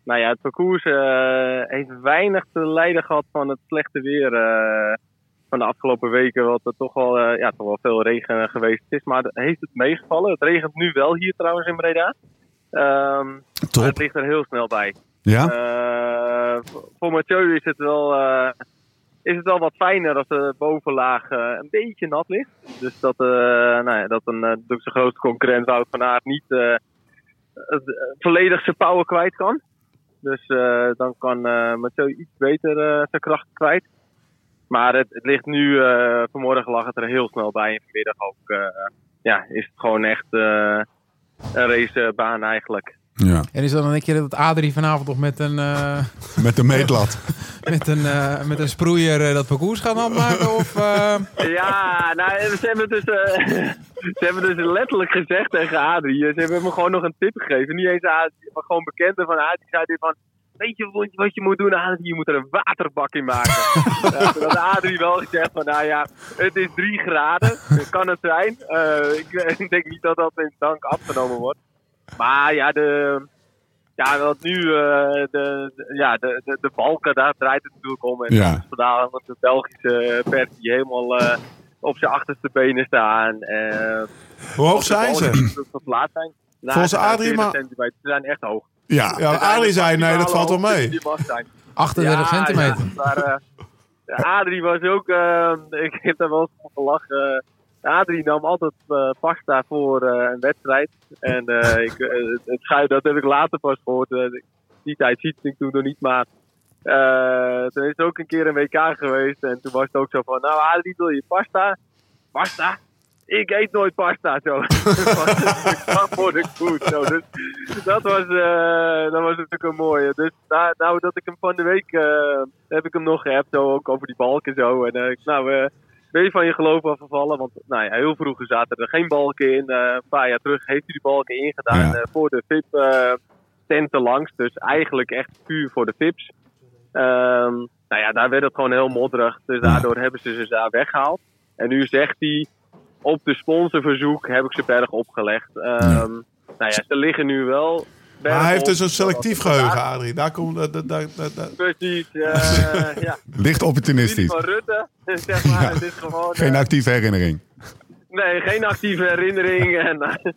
Nou ja, het parcours eh, heeft weinig te lijden gehad van het slechte weer eh, van de afgelopen weken. Wat er toch wel, eh, ja, toch wel veel regen geweest is. Maar het- heeft het meegevallen? Het regent nu wel hier trouwens in Breda. Ehm, maar het
Top.
ligt er heel snel bij.
Ja?
Eh, voor- voor Mathieu is het wel, eh, is het wel wat fijner als de bovenlaag eh, een beetje nat ligt. Dus dat, eh, nou ja, dat een, eh, natuurlijk zijn grootste concurrent Wout van Aert niet eh, het, eh, volledig zijn power kwijt kan. Dus eh, dan kan eh Mathieu iets beter eh, zijn kracht kwijt. Maar het, het ligt nu, eh, vanmorgen lag het er heel snel bij en vanmiddag ook. eh, ja, is het gewoon echt eh, een racebaan eigenlijk.
ja.
En is dat dan een keer dat Adrie vanavond nog met een, eh,
Met de meetlat.
met een, eh, met een sproeier eh, dat parcours gaat afmaken? Of, eh,
Ja, nou, ze hebben, dus, eh, ze hebben dus letterlijk gezegd tegen Adrie. eh, Ze hebben me gewoon nog een tip gegeven. Niet eens Adrie, maar gewoon bekenden van Adrie. Zei dit van, weet je wat- wat je moet doen Adrie? Je moet er een waterbak in maken. Ja, toen had Adrie wel gezegd van, nou ja, het is drie graden. Dat kan het zijn. Eh, ik, ik denk niet dat dat in dank afgenomen wordt. Maar ja, de... Ja, wat nu, eh, de, de- ja, de, de, de balken, daar draait het natuurlijk om. En
Ja.
vandaar dat de Belgische pers die helemaal eh, op zijn achterste benen staan. eh,
Hoe hoog zijn ze?
Tot laat zijn. Nou,
Volgens
ze zijn
Adrie,
40
maar-
centimeter. Ze zijn echt hoog.
Ja.
Ja, Adrie zei, nee, dat valt wel mee.
Die mag zijn.
38 centimeter.
ja, maar, eh, ja, Adrie was ook, eh, ik heb daar wel eens van gelachen. Adrie nam altijd eh, pasta voor eh, een wedstrijd. En eh, ik, eh, het, het schuim, dat heb ik later pas gehoord. Eh, die tijd ziet ik toen nog niet, maar eh, toen is het ook een keer een WK geweest. En toen was het ook zo van, nou Adrie, wil je pasta? Pasta? Ik eet nooit pasta, zo. Wat voor de goed, zo. Dus dat was, eh, dat was natuurlijk een mooie. Dus na, nou dat ik hem van de week, eh, heb ik hem nog gehad, zo, ook over die balken zo. En eh, ik, nou, eh, ben je van je geloof afgevallen? Want nou ja, heel vroeg zaten er geen balken in. Eh, een paar jaar terug heeft hij die balken ingedaan
Ja.
eh, voor de VIP eh, tenten langs. Dus eigenlijk echt puur voor de VIPs. Ehm, nou ja, daar werd het gewoon heel modderig. Dus daardoor hebben ze ze daar weggehaald. En nu zegt hij, op de sponsorverzoek heb ik ze berg opgelegd. Ehm, Nou ja, ze liggen nu wel. berg
Maar hij heeft
op,
dus een selectief
zodat ze
geheugen, Adrie. Daar komt... daar- daar- daar- daar- daar-
Precies, eh ja.
Licht
Jullie
opportunistisch.
van Rutte, zeg maar.
Ja.
Het is gewoon, eh,
Geen actieve herinnering.
nee, geen actieve herinnering. En, eh,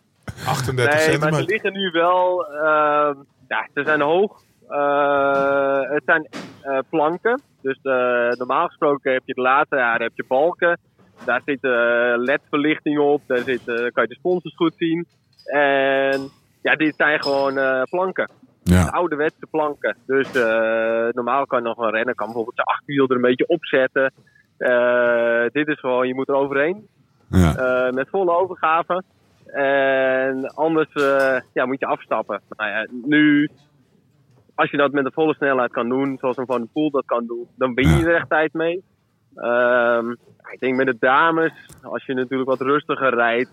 38
nee, maar ze
centimeter.
liggen nu wel... ehm, ja, ze zijn hoog. Eh, het zijn eh, planken. Dus eh, normaal gesproken heb je het later, ja, daar heb je balken. Daar zit eh LED-verlichting op. Daar zit, eh, kan je de sponsors goed zien. En ja, dit zijn gewoon eh, planken.
Ja.
ouderwetse planken. Dus eh, normaal kan nog een renner kan bijvoorbeeld zijn achterwiel er een beetje opzetten. Eh, dit is gewoon, je moet er overheen.
Ja.
Eh, met volle overgave. En anders eh, ja, moet je afstappen. Nou ja, nu, als je dat met de volle snelheid kan doen, zoals een Van de Poel dat kan doen, dan win je
Ja.
er echt tijd mee. Ehm, ik denk met de dames, als je natuurlijk wat rustiger rijdt,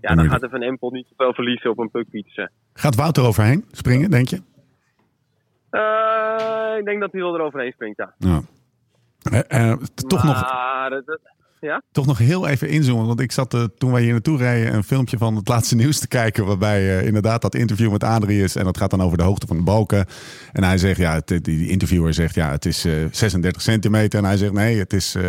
ja, dan
Moeilijk.
gaat er Van Empel niet zoveel verliezen op een pukpietsen.
Gaat Wouter overheen springen, denk je?
Eh ik denk dat hij wel eroverheen springt, ja.
Ja. Eh, eh, toch, nog,
Nou.
Maar eh, het- het-
toch nog heel even inzoomen. Want ik zat eh, toen wij hier naartoe reden een filmpje van het laatste nieuws te kijken. Waarbij eh, inderdaad dat interview met Adrie is. En dat gaat dan over de hoogte van de balken. En hij zegt, ja, het, die- die interviewer zegt, ja, het is eh, 36 centimeter. En hij zegt, nee, het is, eh,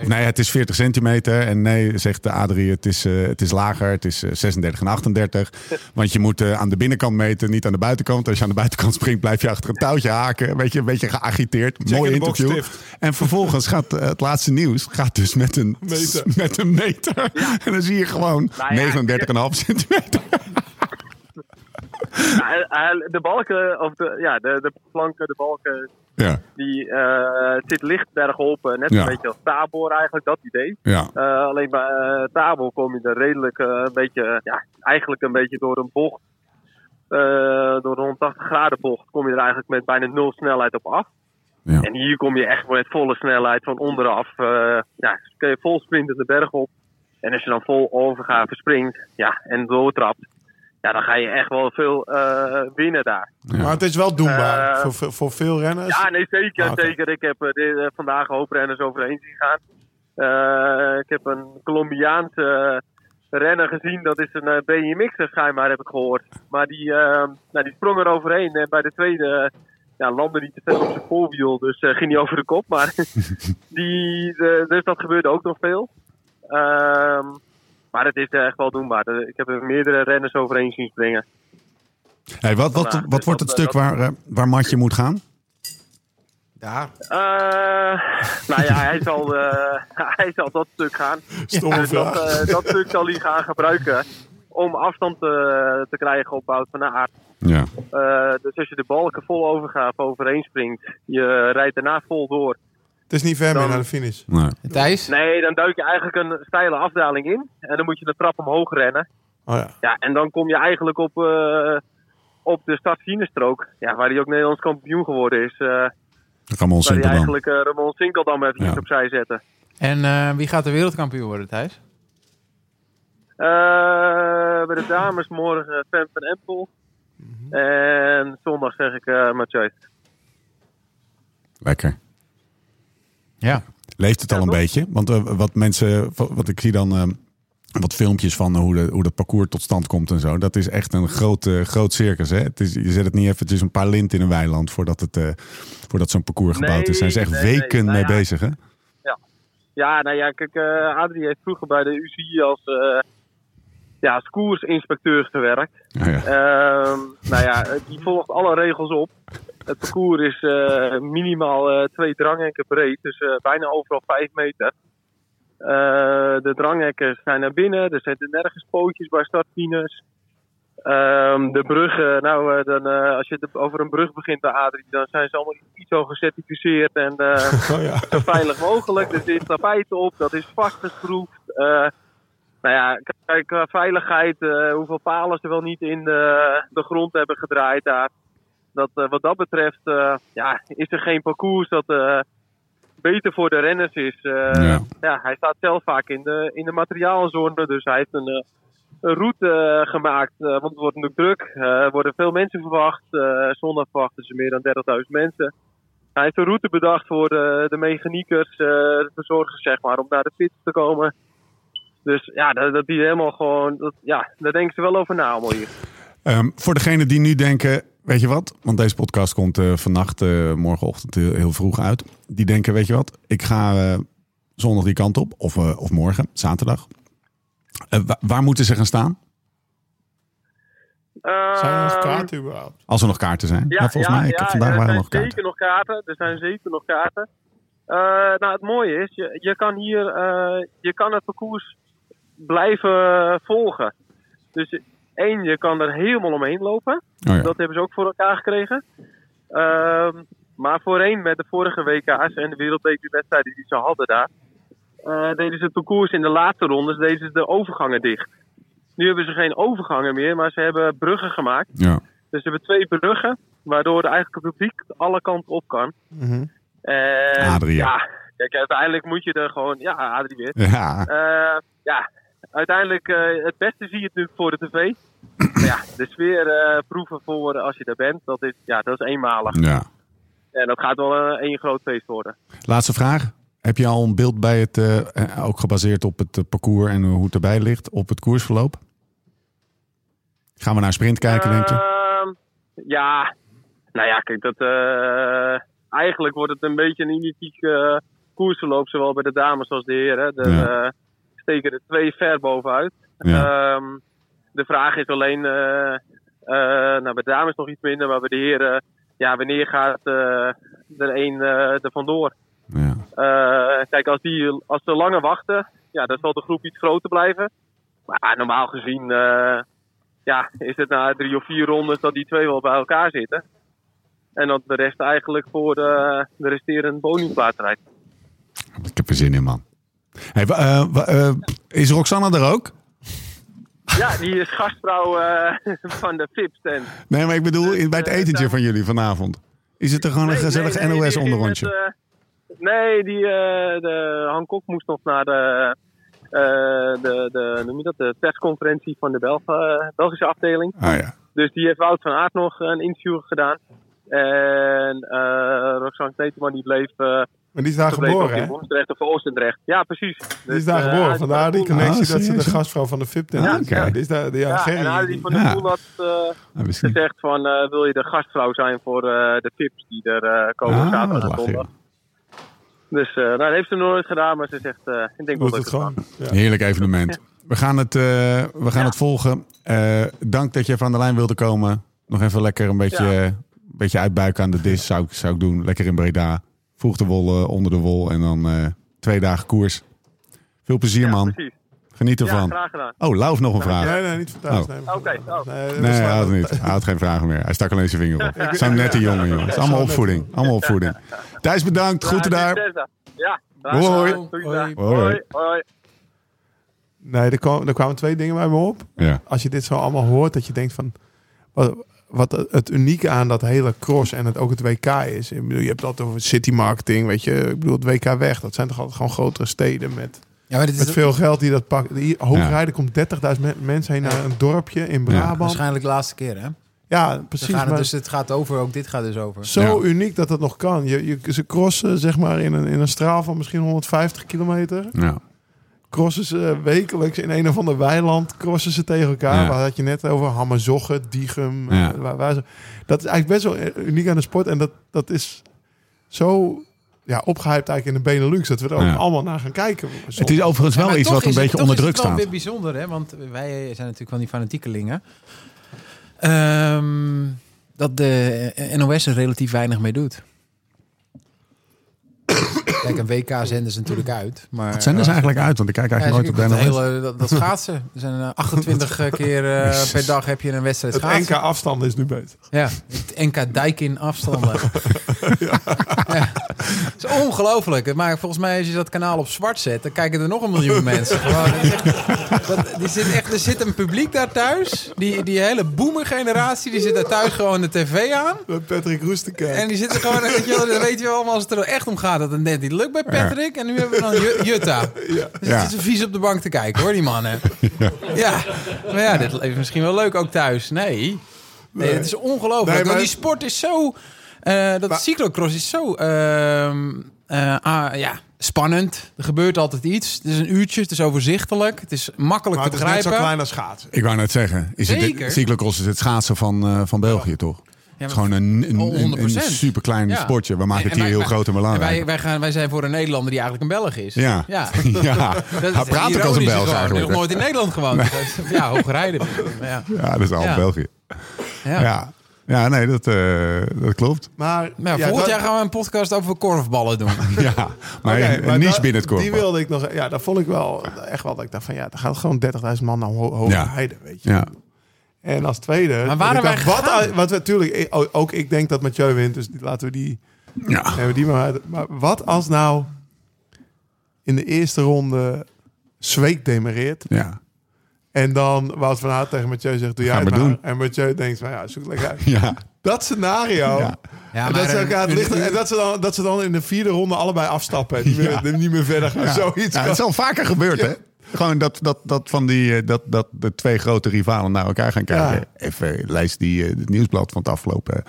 of nee, het is 40 centimeter. En nee, zegt de Adrie, het is, eh, het is lager. Het is eh, 36 en 38. Want je moet eh, aan de binnenkant meten, niet aan de buitenkant. Als je aan de buitenkant springt, blijf je achter een touwtje haken. Een beetje, een beetje geagiteerd. Mooi
in de box
interview.
stift.
En vervolgens gaat eh, het laatste nieuws gaat dus met een
Meter.
Met een meter. En dan zie je gewoon
Nou ja,
39,5 centimeter.
hij- hij- de balken, of de, ja, de, de planken, de balken,
Ja,
die eh, zit licht bergop. eh, Net
Ja.
een beetje als Tabor eigenlijk, dat idee.
ja,
Eh, alleen bij eh, Tabor kom je er redelijk eh, een beetje, eh, ja, eigenlijk een beetje door een bocht. eh, door een 180 graden bocht kom je er eigenlijk met bijna nul snelheid op af.
ja.
En hier kom je echt met volle snelheid van onderaf. eh ja, kun je vol sprinten de berg op. En als je dan vol overgave springt ja, en doortrapt, ja, dan ga je echt wel veel eh, winnen daar.
Ja.
Maar het is wel doenbaar
Eh,
voor- voor, voor veel renners.
Ja, nee, zeker.
Ah, oké.
zeker. Ik heb eh, dit, eh, vandaag een hoop renners overheen zien gaan. Eh, ik heb een Colombiaanse eh, renner gezien. Dat is een eh, BMX'er schijnbaar, heb ik gehoord. Maar die, eh, nou, die sprong er overheen. En bij de tweede eh, ja, landde hij te veel op zijn voorwiel. Dus eh, ging hij over de kop. Maar die, eh, dus dat gebeurde ook nog veel. Ehm, maar het is eh, echt wel doenbaar. Eh, Ik heb er meerdere renners overheen zien springen.
Hey, wat, wat, wat,
Vandaag, dus
wordt het
dat,
stuk
eh,
waar, eh, waar Matje moet gaan?
Daar.
Eh, nou ja, hij zal, eh, hij zal dat stuk gaan.
Stomme
Dus dat,
vraag.
eh, dat stuk zal hij gaan gebruiken om afstand eh, te, te krijgen op Wout van Aert.
Ja,
Eh, dus als je de balken vol overgaaf overheen springt, je rijdt daarna vol door.
het is niet ver meer
dan-
naar de finish.
nee.
Thijs?
Nee, dan duik je eigenlijk een steile afdaling in. En dan moet je de trap omhoog rennen.
Oh ja.
Ja, en dan kom je eigenlijk op, eh, op de startzienenstrook. Ja, waar hij ook Nederlands kampioen geworden is. eh,
Ramon
waar hij
Sinkeldam.
eigenlijk eh, Ramon Sinkeldam even
Ja.
opzij zette.
En eh, wie gaat de wereldkampioen worden, Thijs?
Eh, bij de dames morgen eh, Fem van Empel. En zondag zeg ik eh Mathieu.
Lekker.
Ja.
Leeft het al
Ja,
een
toch?
beetje? Want eh, wat mensen, wat ik zie dan eh, wat filmpjes van eh, hoe, de, hoe dat parcours tot stand komt en zo. Dat is echt een groot, eh, groot circus. Hè? Het is, je zet het niet eventjes een paar lint in een weiland voordat, het, eh, voordat zo'n parcours
Nee,
gebouwd is. Zijn ze echt
nee, nee.
weken
Nou
mee
ja.
bezig, hè?
Ja, nou ja, kijk, eh Adrie heeft vroeger bij de UCI als, eh ja, als koersinspecteur gewerkt.
Ja, ja.
Ehm, nou ja, eh, die volgt alle regels op. Het parcours is eh, minimaal eh, twee dranghekken breed, dus eh, bijna overal vijf meter. Eh, de dranghekken zijn naar binnen, er zitten nergens pootjes bij startfinas. Ehm, de bruggen, nou, eh, dan, eh, als je het over een brug begint bij Adrie, dan zijn ze allemaal iets zo gecertificeerd en eh,
Oh ja.
zo veilig mogelijk. Er zit tapijt op, dat is vastgeschroefd. Eh nou ja, k- kijk, qua veiligheid, eh, hoeveel palen ze wel niet in de, de grond hebben gedraaid daar. Dat, eh, wat dat betreft eh, ja, is er geen parcours dat eh, beter voor de renners is. Eh,
Ja.
ja. hij staat zelf vaak in de, in de materiaalzone, dus hij heeft een, eh, een route eh, gemaakt. eh, want het wordt natuurlijk druk, Eh, er worden veel mensen verwacht. Eh, zondag verwachten ze meer dan 30.000 mensen. Hij heeft een route bedacht voor de, de mechaniekers, eh, de verzorgers, zeg maar, om naar de pits te komen. Dus ja, dat, dat die helemaal gewoon, dat, ja, daar denken ze wel over na allemaal hier.
Ehm, voor degenen die nu denken, weet je wat? Want deze podcast komt eh, vannacht, eh, morgenochtend heel, heel vroeg uit. Die denken, weet je wat? Ik ga eh, zondag die kant op, of, eh, of morgen, zaterdag. Eh, wa- waar moeten ze gaan staan?
Zijn er nog
Ehm,
kaarten überhaupt?
Als er nog kaarten zijn. Ja, volgens mij, ik heb vandaag
er
waren er
zijn
nog kaarten.
zeker nog kaarten. Er zijn zeker nog kaarten. Eh, nou, het mooie is, je, je kan hier eh, je kan het parcours blijven eh, volgen. Dus je- Eén, je kan er helemaal omheen lopen.
Oh ja.
Dat hebben ze ook voor elkaar gekregen. Ehm, maar voorheen met de vorige WK's en de wereldbekerwedstrijden die ze hadden daar, eh, deden ze het koers in de laatste rondes, deden ze de overgangen dicht. Nu hebben ze geen overgangen meer, maar ze hebben bruggen gemaakt.
Ja.
Dus ze hebben twee bruggen, waardoor eigenlijk het publiek alle kanten op kan.
Mhm.
En,
Adrie, ja.
Ja, kijk, uiteindelijk moet je er gewoon... Ja, Adrie weer.
Ja.
Eh, ja, uiteindelijk eh, het beste zie je het nu voor de tv. Maar ja, de sfeer eh, proeven voor als je daar bent, dat is, ja, dat is eenmalig.
ja.
En dat gaat wel eh, één groot feest worden.
Laatste vraag. Heb je al een beeld bij het, eh, eh, ook gebaseerd op het eh, parcours en hoe het erbij ligt, op het koersverloop? Gaan we naar sprint kijken, denk je?
Ehm, ja, nou ja, kijk, dat, eh, eigenlijk wordt het een beetje een identiek eh, koersverloop, zowel bij de dames als de heren. De,
Ja.
eh, steken er twee ver bovenuit.
Ja.
Ehm, de vraag is alleen, eh, eh, nou, bij de dames nog iets minder, maar bij de heren, ja, wanneer gaat eh, er een eh er vandoor?
Ja.
Eh, kijk, als, die, als ze langer wachten, ja, dan zal de groep iets groter blijven. Maar ja, normaal gezien eh, ja, is het na drie of vier rondes dat die twee wel bij elkaar zitten. En dat de rest eigenlijk voor eh, de resterende bonusplaats rijdt.
Ik heb er zin in, man. Hey, wa- eh, wa- eh, is Roxanne er ook?
Ja, die is gastvrouw eh, van de Fips. En
Nee, maar ik bedoel in- bij het etentje van jullie vanavond. Is het er gewoon een
eh, Nee,
gezellig
nee, nee, die ging
NOS-onderrondje?
met, eh, nee, die, eh, de Hancock moest nog naar de, eh, de, de, noem je dat, de persconferentie van de Belg- eh, Belgische afdeling.
Ah ja.
Dus die heeft Wout van Aert nog een interview gedaan. En eh Roxanne Kneteman die bleef, eh
Maar die is daar
gebleven
geboren,
ook in
hè?
Moordrecht of Oostendrecht. Ja, precies.
Die is daar
eh,
geboren.
Adrie
Vandaar die
van der Poel-
connectie
Ah,
dat ze de
serieus?
gastvrouw van de VIP tent
Ja,
is.
oké.
Ja, die is daar, die- ja,
Ja, en
Gerry.
Adrie
die-
van der
Ja.
Poel had eh,
Nou, misschien.
gezegd van... eh, wil je de gastvrouw zijn voor eh, de tips die er eh, komen
Ah,
zaterdag en
lach,
zondag? Dus eh, nou, dat heeft ze nog nooit gedaan, maar ze zegt, eh, ik denk wel
Doet
dat ik
het gewoon. Ja.
Heerlijk evenement. We gaan het, eh, we gaan het volgen. Eh, dank dat je even aan de lijn wilde komen. Nog even lekker een beetje,
Ja.
een beetje uitbuiken aan de dis zou, ik- zou ik doen. Lekker in Breda. Vroeg de wol eh, onder de wol en dan eh, twee dagen koers. Veel plezier,
Ja,
man.
precies.
Geniet
Ja,
ervan.
graag gedaan.
oh, Lauf nog een vraag.
Nee, nee, niet voor thuis.
Oh.
Nee,
Oké, oh.
Nee, dat
Nee,
is
hij
waar.
had, het niet. hij had geen vragen meer. Hij stak alleen zijn vinger op. Het Zo'n nette jongen, jongens. Het is Allemaal opvoeding. Allemaal opvoeding. Thijs, bedankt. Groeten
Ja,
daar.
succes Ja, graag
Hoi.
gedaan. Doei, dag.
Hoi.
Hoi. Hoi.
Nee, er, kwam- er kwamen twee dingen bij me op.
Ja.
Als je dit zo allemaal hoort, dat je denkt van... Wat, wat het unieke aan dat hele cross en het, ook het WK is. Ik bedoel, je hebt dat over city marketing, weet je. Ik bedoel, het WK weg. Dat zijn toch altijd gewoon grotere steden met,
Ja, maar dit
met
is
veel geld die dat pakken. Hier, Hoogrijden komt 30.000 me- mensen heen naar een dorpje in Brabant. Ja,
waarschijnlijk de laatste keer, hè? Ze
precies.
gaan het,
maar-
dus het gaat over, ook dit gaat dus over.
Zo
Ja.
uniek dat dat nog kan. Je, je, ze crossen zeg maar in een, in een straal van misschien 150 kilometer.
Ja.
Crossen ze eh, wekelijks in een of ander weiland. Crossen ze tegen elkaar.
Ja.
Waar had je net over Hammerzoggen, Diegum. eh,
Ja.
waar, waar ze, dat is eigenlijk best wel eh, uniek aan de sport. En dat, dat is zo ja, opgehypt eigenlijk in de Benelux. Dat we er ook
Ja.
allemaal naar gaan kijken. Soms.
Het is overigens wel
Ja, maar
iets
toch
wat een
is het-
beetje
toch
onder
is
druk
het wel
staat.
weer bijzonder, hè? Want wij eh, zijn natuurlijk van die fanatiekelingen. Ehm, dat de eh, NOS er relatief weinig mee doet. Kijk, een WK zenden ze natuurlijk uit. Maar,
Wat zijn er
Ja,
eigenlijk uit? Want ik kijk
ja,
eigenlijk
zie
nooit
ik
op de
dat,
NOS.
hele- dat, dat schaatsen. Er zijn eh, 28 keer eh, per dag heb je een wedstrijd
het
schaatsen.
NK afstanden is nu beter.
Ja, het NK Dijk in afstanden. ja. Het is ongelooflijk. Maar volgens mij, als je dat kanaal op zwart zet, dan kijken er nog een miljoen mensen. Gewoon, dat is echt- dat, die zit echt, er zit een publiek daar thuis. Die, die hele boomer-generatie, die zit daar thuis gewoon de tv aan.
Met Patrick Roes te kijken.
En die zitten gewoon, weet je, wel, dat weet je wel allemaal als het er nou echt om gaat, dat het net niet lukt bij Patrick. En nu hebben we dan Ju- Jutta. Dus
Ja.
het is vies op de bank te kijken hoor, die mannen. Ja. Maar ja, dit is misschien wel leuk ook thuis. Nee. Nee, het is ongelooflijk.
Nee, maar-
Want die sport is zo, eh, dat
Maar-
cyclocross is zo, ehm, eh, ah, ja... Spannend. Er gebeurt altijd iets. Het is een uurtje. Het is overzichtelijk. Het is makkelijk
maar het
te
is net
begrijpen.
zo klein als schaatsen.
Ik wou net zeggen, is het
Zeker.
de, cyclocross is het schaatsen van, eh, van België, toch? Het is
maar-
gewoon een, een,
Oh,
een,
100%.
super klein
Ja.
sportje. We maken het
En- en
hier
wij-
heel
wij-
groot en
en
belangrijk.
wij, wij, gaan, wij zijn voor een Nederlander die eigenlijk een Belg is.
ja. ja.
ja.
Hij praat ook als een Belg
Hij nog
eigenlijk. hè?
nooit in Nederland gewoond. Ja, Hoogrijden. Ja.
Ja, dat is al
Ja.
België.
Ja.
Ja, ja nee, dat, eh, dat klopt.
Maar,
Nou,
ja,
volgend
dat-
jaar gaan we een podcast over korfballen doen.
Ja, maar
Oké,
een,
maar
een niche
da-
binnen het korps.
Die wilde ik nog. Ja, dat vond ik wel echt wel. Dat ik dacht van ja, er gaat gewoon 30.000 man naar Ho- Hoge
Ja.
Heide, weet je.
Ja.
En als tweede...
Maar waar
dat
hebben
ik
wij
dacht, wat,
gegaan?
wat we, tuurlijk, ik- ook- ook ik denk dat Mathieu wint, dus die- laten we die,
Ja.
hebben die maar uit. Maar wat als nou in de eerste ronde Zweek demereert
ja.
en dan Wout van Aert tegen Mathieu zegt, doe jij
Gaan
het
we
maar.
doen.
En Mathieu denkt, van, ja, zoek lekker uit.
Ja.
Dat scenario...
Ja.
Ja,
en dat, ze
een-
elkaar het
een
licht-
uur-
en dat, ze dan, dat ze dan in de vierde ronde allebei afstappen. En niet, meer, niet meer verder gaan. Zoiets.
Ja,
kan.
het is al vaker gebeurd, hè? Gewoon dat, dat, dat, van die, eh, dat, dat de twee grote rivalen naar elkaar gaan kijken. Even eh, lees die, eh, het nieuwsblad van het afgelopen,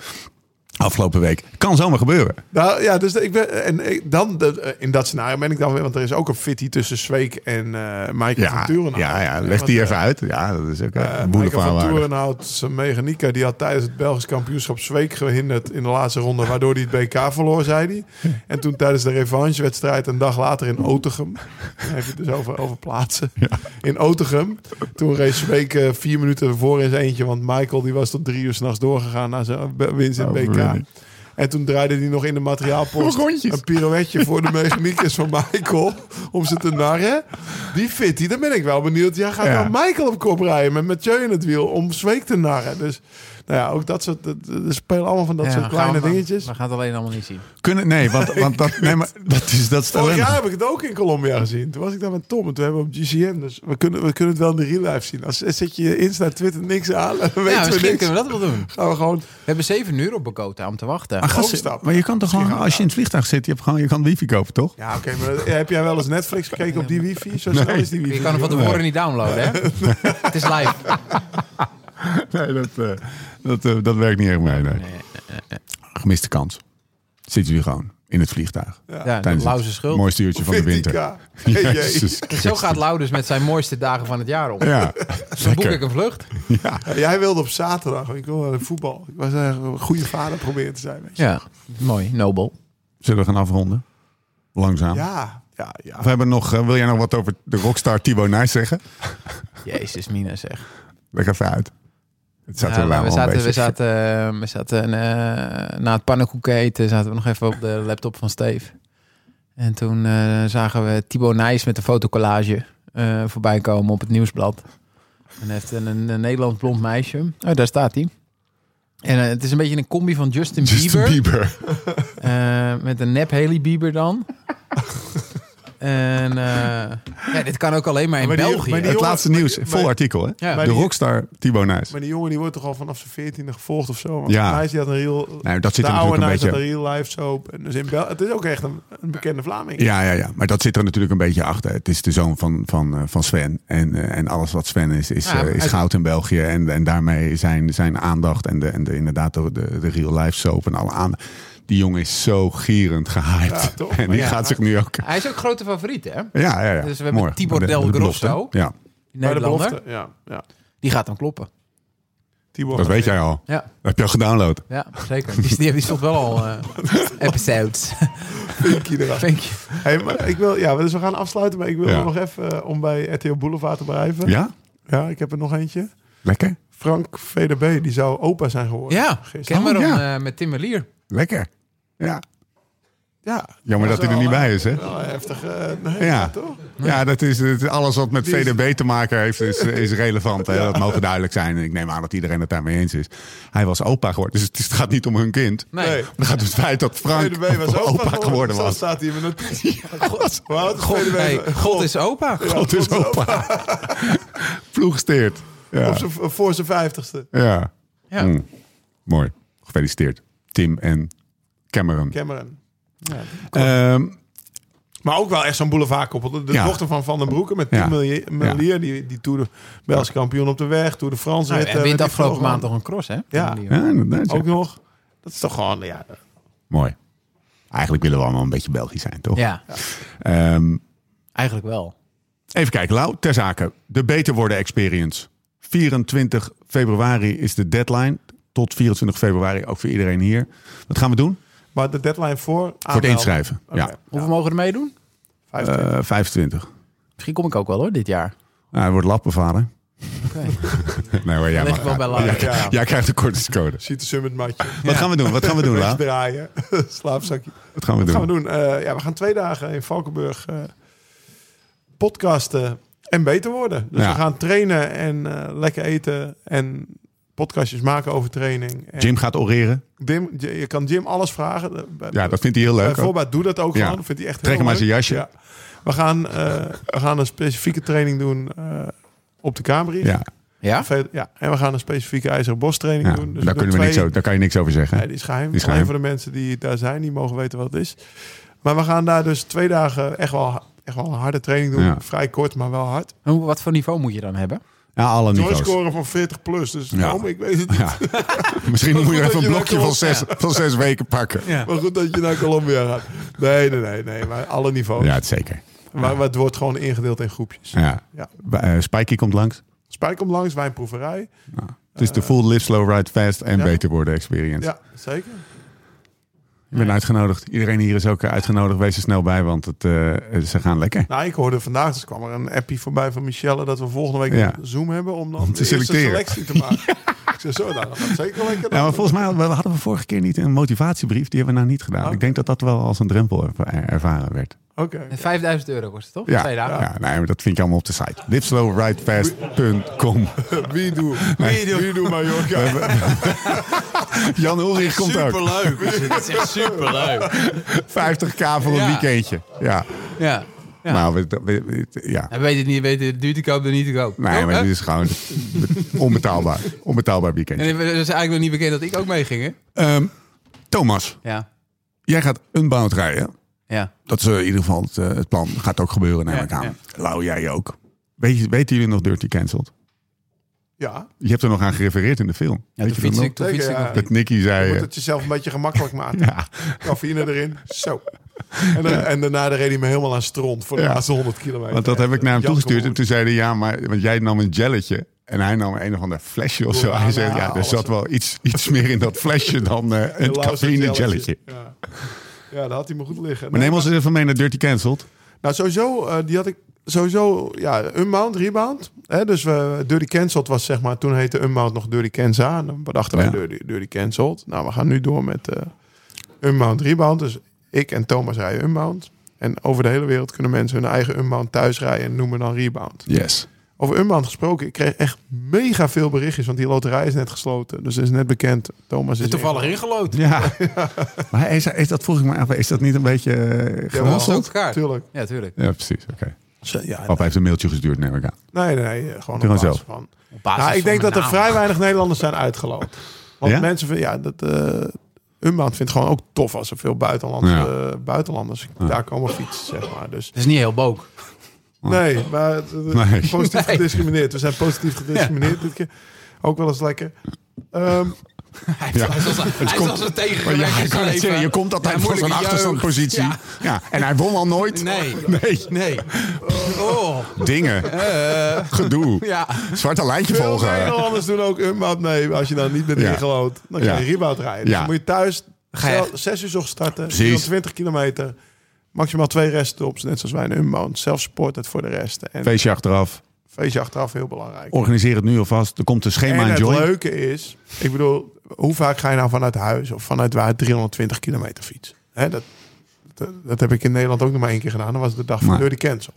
afgelopen week. Kan zomaar gebeuren.
Nou ja, dus ik ben, en ik- dan, de- eh, in dat scenario ben ik dan weer, want er is ook een fitty tussen Zweek en eh Michael van
Ja,
Turenhout.
ja, ja, leg
Want,
die
eh,
even uit. Ja, dat is ook
eh,
een
Michael van
boulevardwaardig.
Turenhout, zijn mechanica, die had tijdens het Belgisch kampioenschap Zweek gehinderd in de laatste ronde, waardoor hij het BK verloor, zei hij. En toen tijdens de revanchewedstrijd een dag later in Otegum, dan heb je het dus over, over plaatsen, in Otegum. Toen race Zweek eh, vier minuten ervoor in zijn eentje, want Michael die was tot drie uur s'nachts doorgegaan naar zijn be- winst in het BK.
Overwinning.
En toen draaide hij Oh, nog in de materiaalpost
Rondjes.
een pirouetje voor de mechaniekers van Michael. Om ze te narren. Die fitty, dan ben ik wel benieuwd. Ja, gaat
Ja.
nou Michael op kop rijden met Mathieu in het wiel om Zweek te narren. Dus nou ja, ook dat soort, dat, dat- er spelen allemaal van dat
Ja,
soort
gaan
kleine
we dan-
dingetjes.
We gaan het alleen allemaal niet zien.
Kunnen, nee, want, want dat, nee, maar dat is, dat is het
Vorig
alleen.
jaar heb ik het ook in Colombia gezien. Toen was ik daar met Tom en toen hebben we op GCN. Dus we kunnen, we kunnen het wel in de real life zien. Als zet je Insta, Twitter niks aan, dan
Ja,
weten we
misschien
niks.
kunnen we dat wel doen.
Gaan we gewoon...
We hebben zeven uur op Bogota om te wachten.
Maar gast,
overstappen.
maar je kan toch gewoon, als je in het vliegtuig zit, je, hebt gewoon, je kan wifi kopen, toch?
Ja, oké, maar heb jij wel eens Netflix gekeken op die wifi? Zo snel is die wifi.
je kan hem van tevoren niet downloaden, hè? het is live.
Nee, dat, eh, dat, eh, dat werkt niet echt mee. Nee. Gemiste kans. Zit jullie gewoon in het vliegtuig.
Ja, dat
Tijdens
lauze
het
schuld.
mooiste uurtje van de winter.
14K. Hey, jee.
Jezus
Zo
Christus.
gaat Lauders met zijn mooiste dagen van het jaar om.
Ja,
Dan boek
lekker.
ik een vlucht.
Ja, jij wilde op zaterdag. Ik wil wel voetbal. Ik was eigenlijk een goede vader proberen te zijn. Weet je.
Ja, mooi, nobel.
Zullen we gaan afronden? Langzaam.
Ja, ja, ja.
We hebben nog, eh, wil jij nog wat over de rockstar Thibaut Nijs zeggen?
Jezus, Mina zeg.
Leg even uit. Het zat
Ja,
er
nou,
wel
we,
een
zaten, we
beetje-
zaten, eh, we zaten eh, na het pannenkoeken eten zaten we nog even op de laptop van Steve. En toen eh, zagen we Thibaut Nijs met een fotocollage eh, voorbij komen op het nieuwsblad. En hij heeft een, een, een Nederlands blond meisje. Oh, daar staat hij. En eh, het is een beetje een combi van Justin,
Justin
Bieber.
Bieber.
Eh, met een nep Haley Bieber dan. en eh, ja, dit kan ook alleen maar in
Maar die-
België.
maar die-
Het laatste
jongen-
nieuws,
maar-
vol artikel hè?
Ja.
De rockstar Thibaut Nijs.
Maar die jongen die wordt toch al vanaf zijn veertiende gevolgd of zo. Want
Ja.
ja. Hij had een real...
Nou, dat zit
de
er natuurlijk
oude
een
Nijs had
beetje...
een real life soap. En dus in Bel het is ook echt een, een bekende Vlaming.
Ja, ja, ja, maar dat zit er natuurlijk een beetje achter. Het is de zoon van, van, eh, van Sven. En, eh, en alles wat Sven is, is,
Ja,
eh,
maar
is
uit-
goud in België. En, en daarmee zijn, zijn aandacht en, de, en de, inderdaad de, de, de real life soap en alle aandacht. Die jongen is zo gierend
Ja,
gehyped.
toch?
en die
Ja.
gaat zich nu ook...
Hij is ook grote favoriet, hè?
Ja, ja, ja.
Dus we hebben Thibaut
De- de
Del
belofte.
Grosso.
Ja,
Bij
Die
de
Nederlander.
belofte. Ja, ja.
Die gaat dan kloppen.
Tibor
dat
gaat
weet
in.
jij al.
Ja,
Heb je al gedownload?
ja zeker. Die, die, die stond wel al eh, episodes.
Pinky erachter.
Thank you.
Hey, maar ik wil, ja, dus we gaan afsluiten. Maar ik wil
Ja.
nog even, eh, om bij RTL Boulevard te blijven.
Ja?
Ja, ik heb er nog eentje.
Lekker?
Frank VDB, die zou opa zijn geworden.
Ja,
gisteren.
Cameron
Oh, ja.
eh, met Tim Merlier.
Lekker. Ja.
Ja.
Jammer dat hij er niet bij is, hè?
Wel een heftige... Nee,
Ja.
toch?
Ja, dat is, dat is alles wat met
Die is-
VDB te maken heeft, is, is relevant. Hè? Dat mogen duidelijk zijn. En ik neem aan dat iedereen het daarmee eens is. Hij was opa geworden. Dus het, is- het gaat niet om hun kind.
Nee.
Nee.
Het gaat om het feit dat Frank
VDB was opa,
opa geworden
Zo
was.
staat hij in mijn notitie.
God,
Wat?
God,
VDB.
hey, God is opa.
God is opa. Ploegsteert. Ja.
Op zijn, voor zijn vijftigste.
ja.
Ja.
Hm. Mooi. Gefeliciteerd. Tim en Cameron.
Cameron.
Ehm,
Maar ook wel echt zo'n boulevardkoppel. De, de
Ja.
dochter van Van den Broeken met
Ja.
Tim Melier, Melier, die, die Tour de Belgische kampioen op de weg. Tour de France.
Nou,
werd,
en
eh,
wint
werd
afgelopen
die
maand nog
gewonnen.
een cross, hè?
Ja.
Tim Merlier.
ja, inderdaad. ja.
Ook nog. Dat is toch gewoon, ja.
Mooi. Eigenlijk willen we allemaal een beetje Belgisch zijn, toch?
Ja,
Ehm,
eigenlijk wel.
Even kijken, Lau, ter zake. De Beter Worden Experience. 24 februari is de deadline. Tot 24 februari, ook voor iedereen hier. Wat gaan we doen?
Maar de deadline voor... Aanmelden.
Voor het inschrijven.
Ah, Oké.
Ja,
Hoeveel mogen er meedoen?
Vijftien.
Eh, 25.
Misschien kom ik ook wel, hoor, dit jaar.
Nou, het wordt lappen, vader.
Oké.
Nee, maar jij,
Ligt
mag
wel bij
gaan.
Lau.
Jij-
Ja.
jij krijgt de kortingscode.
Ziet de summit matje.
Wat gaan we doen? Wat gaan we doen, Lau?
Draaien. Slaapzakje.
Wat gaan we
Wat gaan we
doen?
doen? Eh, ja, we gaan twee dagen in Valkenburg eh, podcasten en beter worden. Dus
Ja.
we gaan trainen en eh, lekker eten en podcastjes maken over training. En
Jim gaat oreren.
Dim- je kan Jim alles vragen. Eh, Bij-
Ja, dat vindt hij heel leuk. ook.
Bijvoorbeeld, doe dat ook
Ja.
gewoon. Dat Vindt hij echt
Trek
heel
hem uit
leuk.
zijn jasje.
Ja. We, gaan, eh, we gaan een specifieke training doen eh, op de Kamerbrief.
Ja,
Ja?
Ve- ja. En we gaan een specifieke ijzeren bos training
ja.
doen.
daar,
doen
kunnen we niks
twee-
over, daar kan je niks over zeggen.
Nee, die is geheim.
Die is
Alleen
geheim.
voor de mensen die daar zijn, die mogen weten wat het is. Maar we gaan daar dus twee dagen echt wel, echt wel een harde training doen.
Ja.
Vrij kort, maar wel hard.
En Wat voor niveau moet je dan hebben?
Ja, alle niveaus.
Doorscoren van 40 plus. Dus
Ja.
waarom? Ik weet het niet.
Ja. Misschien moet je
dat
even een
je
blokje van
dat kon.
zes, van zes weken pakken.
Maar goed dat je naar Colombia gaat. Nee, nee, nee. nee maar alle niveaus.
Ja, het zeker.
Maar, maar het wordt gewoon ingedeeld in groepjes.
Ja.
Ja.
Eh, Spikey komt langs.
Spijk komt langs, wijnproeverij.
Het is de full live slow ride fast en
Eh, ja.
beter worden experience.
Ja, zeker.
Ik ben uitgenodigd. Iedereen hier is ook eh, uitgenodigd. Wees er snel bij, want het, eh, ze gaan lekker.
Nou, ik hoorde vandaag, dus kwam er een appie voorbij van Michelle... dat we volgende week
Ja.
een Zoom hebben om dan
Om
de
te
eerste
selecteren.
selectie te maken. Ik zei, zo, nou, dat gaat zeker lekker.
Ja, maar volgens mij hadden we, hadden we vorige keer niet een motivatiebrief. Die hebben we nou niet gedaan.
Oh.
Ik denk dat dat wel als een drempel erva- er- ervaren werd.
Oké.
5000 euro kost het, toch?
Ja,
Twee dagen.
ja nee, maar dat vind je allemaal op de site. Livslowridefast.com
Wie doe? Wie doe? Wie doe Mallorca?
Jan Ulrich komt ook.
Superleuk.
Dus
Het is echt superleuk.
50k voor een
Ja.
weekendje. Ja.
Ja. Ja.
Nou, we, we- we- ja.
En weet het niet, weet het duur te koop dan niet te koop.
Nee,
Oh,
maar
hè?
dit is gewoon onbetaalbaar. Onbetaalbaar weekendje.
En het is eigenlijk nog niet bekend dat ik ook meeging, hè?
Ehm, Thomas,
Ja.
jij gaat unbound rijden.
Ja.
Dat is eh, in ieder geval het, eh, het plan. Gaat ook gebeuren, neem
Ja,
ik aan. Lau, jij ook. Weet je, weten jullie nog Dirty Cancelled?
Ja,
Je hebt er nog aan gerefereerd in de film.
ja
Weet
toen
je dat
fiets
nog?
ik, toen fiets ik
Zeker,
nog
ja.
Dat Nicky
je
zei...
moet
eh,
het jezelf een beetje gemakkelijk maken.
ja,
Cafeïne erin, zo. En, dan- en daarna reed hij me helemaal aan stront voor de
Ja.
laatste 100 kilometer.
want dat heb ik naar hem
Jan
toegestuurd. En
Kapoor.
toen zei hij, ja, maar... Want jij nam een jelletje. En hij nam een of ander flesje of zo.
Ja,
Hij zei,
ja,
ja, er
alles.
zat wel iets, iets meer in dat flesje dan eh, een
Lauwse
cafeïne jelletje.
Ja. ja, daar had hij me goed liggen.
Maar
Nee,
neem ons eens even mee naar Dirty Cancelled.
Nou, sowieso, eh, die had ik sowieso, ja, unbound, rebound. Hè, dus we, Dirty Cancelled was zeg maar, toen heette unbound nog Dirty Nou, Kenza. En dan bedachten wij
Ja.
Dirty, Dirty Cancelled. Nou, we gaan nu door met eh unbound, rebound. Dus ik en Thomas rijden unbound. En over de hele wereld kunnen mensen hun eigen unbound thuis rijden en noemen dan rebound.
Yes.
Over unbound gesproken, ik kreeg echt mega veel berichtjes, want die loterij is net gesloten. Dus het is net bekend, Thomas is...
Toevallig ingelood.
Ja. maar is, is dat, vroeg ik me af, is dat niet een beetje eh,
op
geronseld?
elkaar.
Tuurlijk.
Ja, tuurlijk.
Ja, precies. Oké.
Ja,
Papa heeft een mailtje gestuurd, neem ik aan.
nee, nee, nee, gewoon op
Doe gewoon
basis
zelf.
van...
Op basis
Nou, ik
van
denk
mijn
dat er
naam.
vrij weinig Nederlanders zijn uitgeloot. Want
Ja?
mensen vinden, ja, dat eh Unbound vindt gewoon ook tof als er veel buitenlandse,
Ja.
eh, buitenlanders daar komen fietsen, zeg maar. Dus
Dat is niet heel book.
nee, maar het- het-
Nee.
positief
Nee.
gediscrimineerd. We zijn positief gediscrimineerd dit keer. Ook wel eens lekker. Ehm,
Ja.
Hij is
komt-
als een
Maar Oh, ja, ik
tegengewerkt
kan het zeggen, je komt altijd van zo'n achterstandpositie. Ja.
Ja.
en hij won al nooit.
Nee.
Nee.
Nee. Oh.
Dingen. Gedoe.
Ja.
Zwarte lijntje
veel
volgen.
Nederlanders doen ook Unbound mee. Als je dan niet bent
Ja.
ingeloot, dan kan
Ja.
je rebound rijden. Dus
Ja.
dan moet je thuis
Ga je
zel-
echt-
zes uur 's ochtends starten,
Precies.
24 kilometer. Maximaal twee reststops, net zoals wij in Unbound. Zelf support het voor de rest. En
Feestje achteraf.
feestje achteraf heel belangrijk.
Organiseer het nu alvast. Er komt een schema
en
aan
het
join.
leuke is, ik bedoel, hoe vaak ga je nou vanuit huis of vanuit waar 320 kilometer fiets? Hè, dat, dat, dat heb ik in Nederland ook nog maar één keer gedaan. Dat was de dag van
Maar-
Dirty Cancel.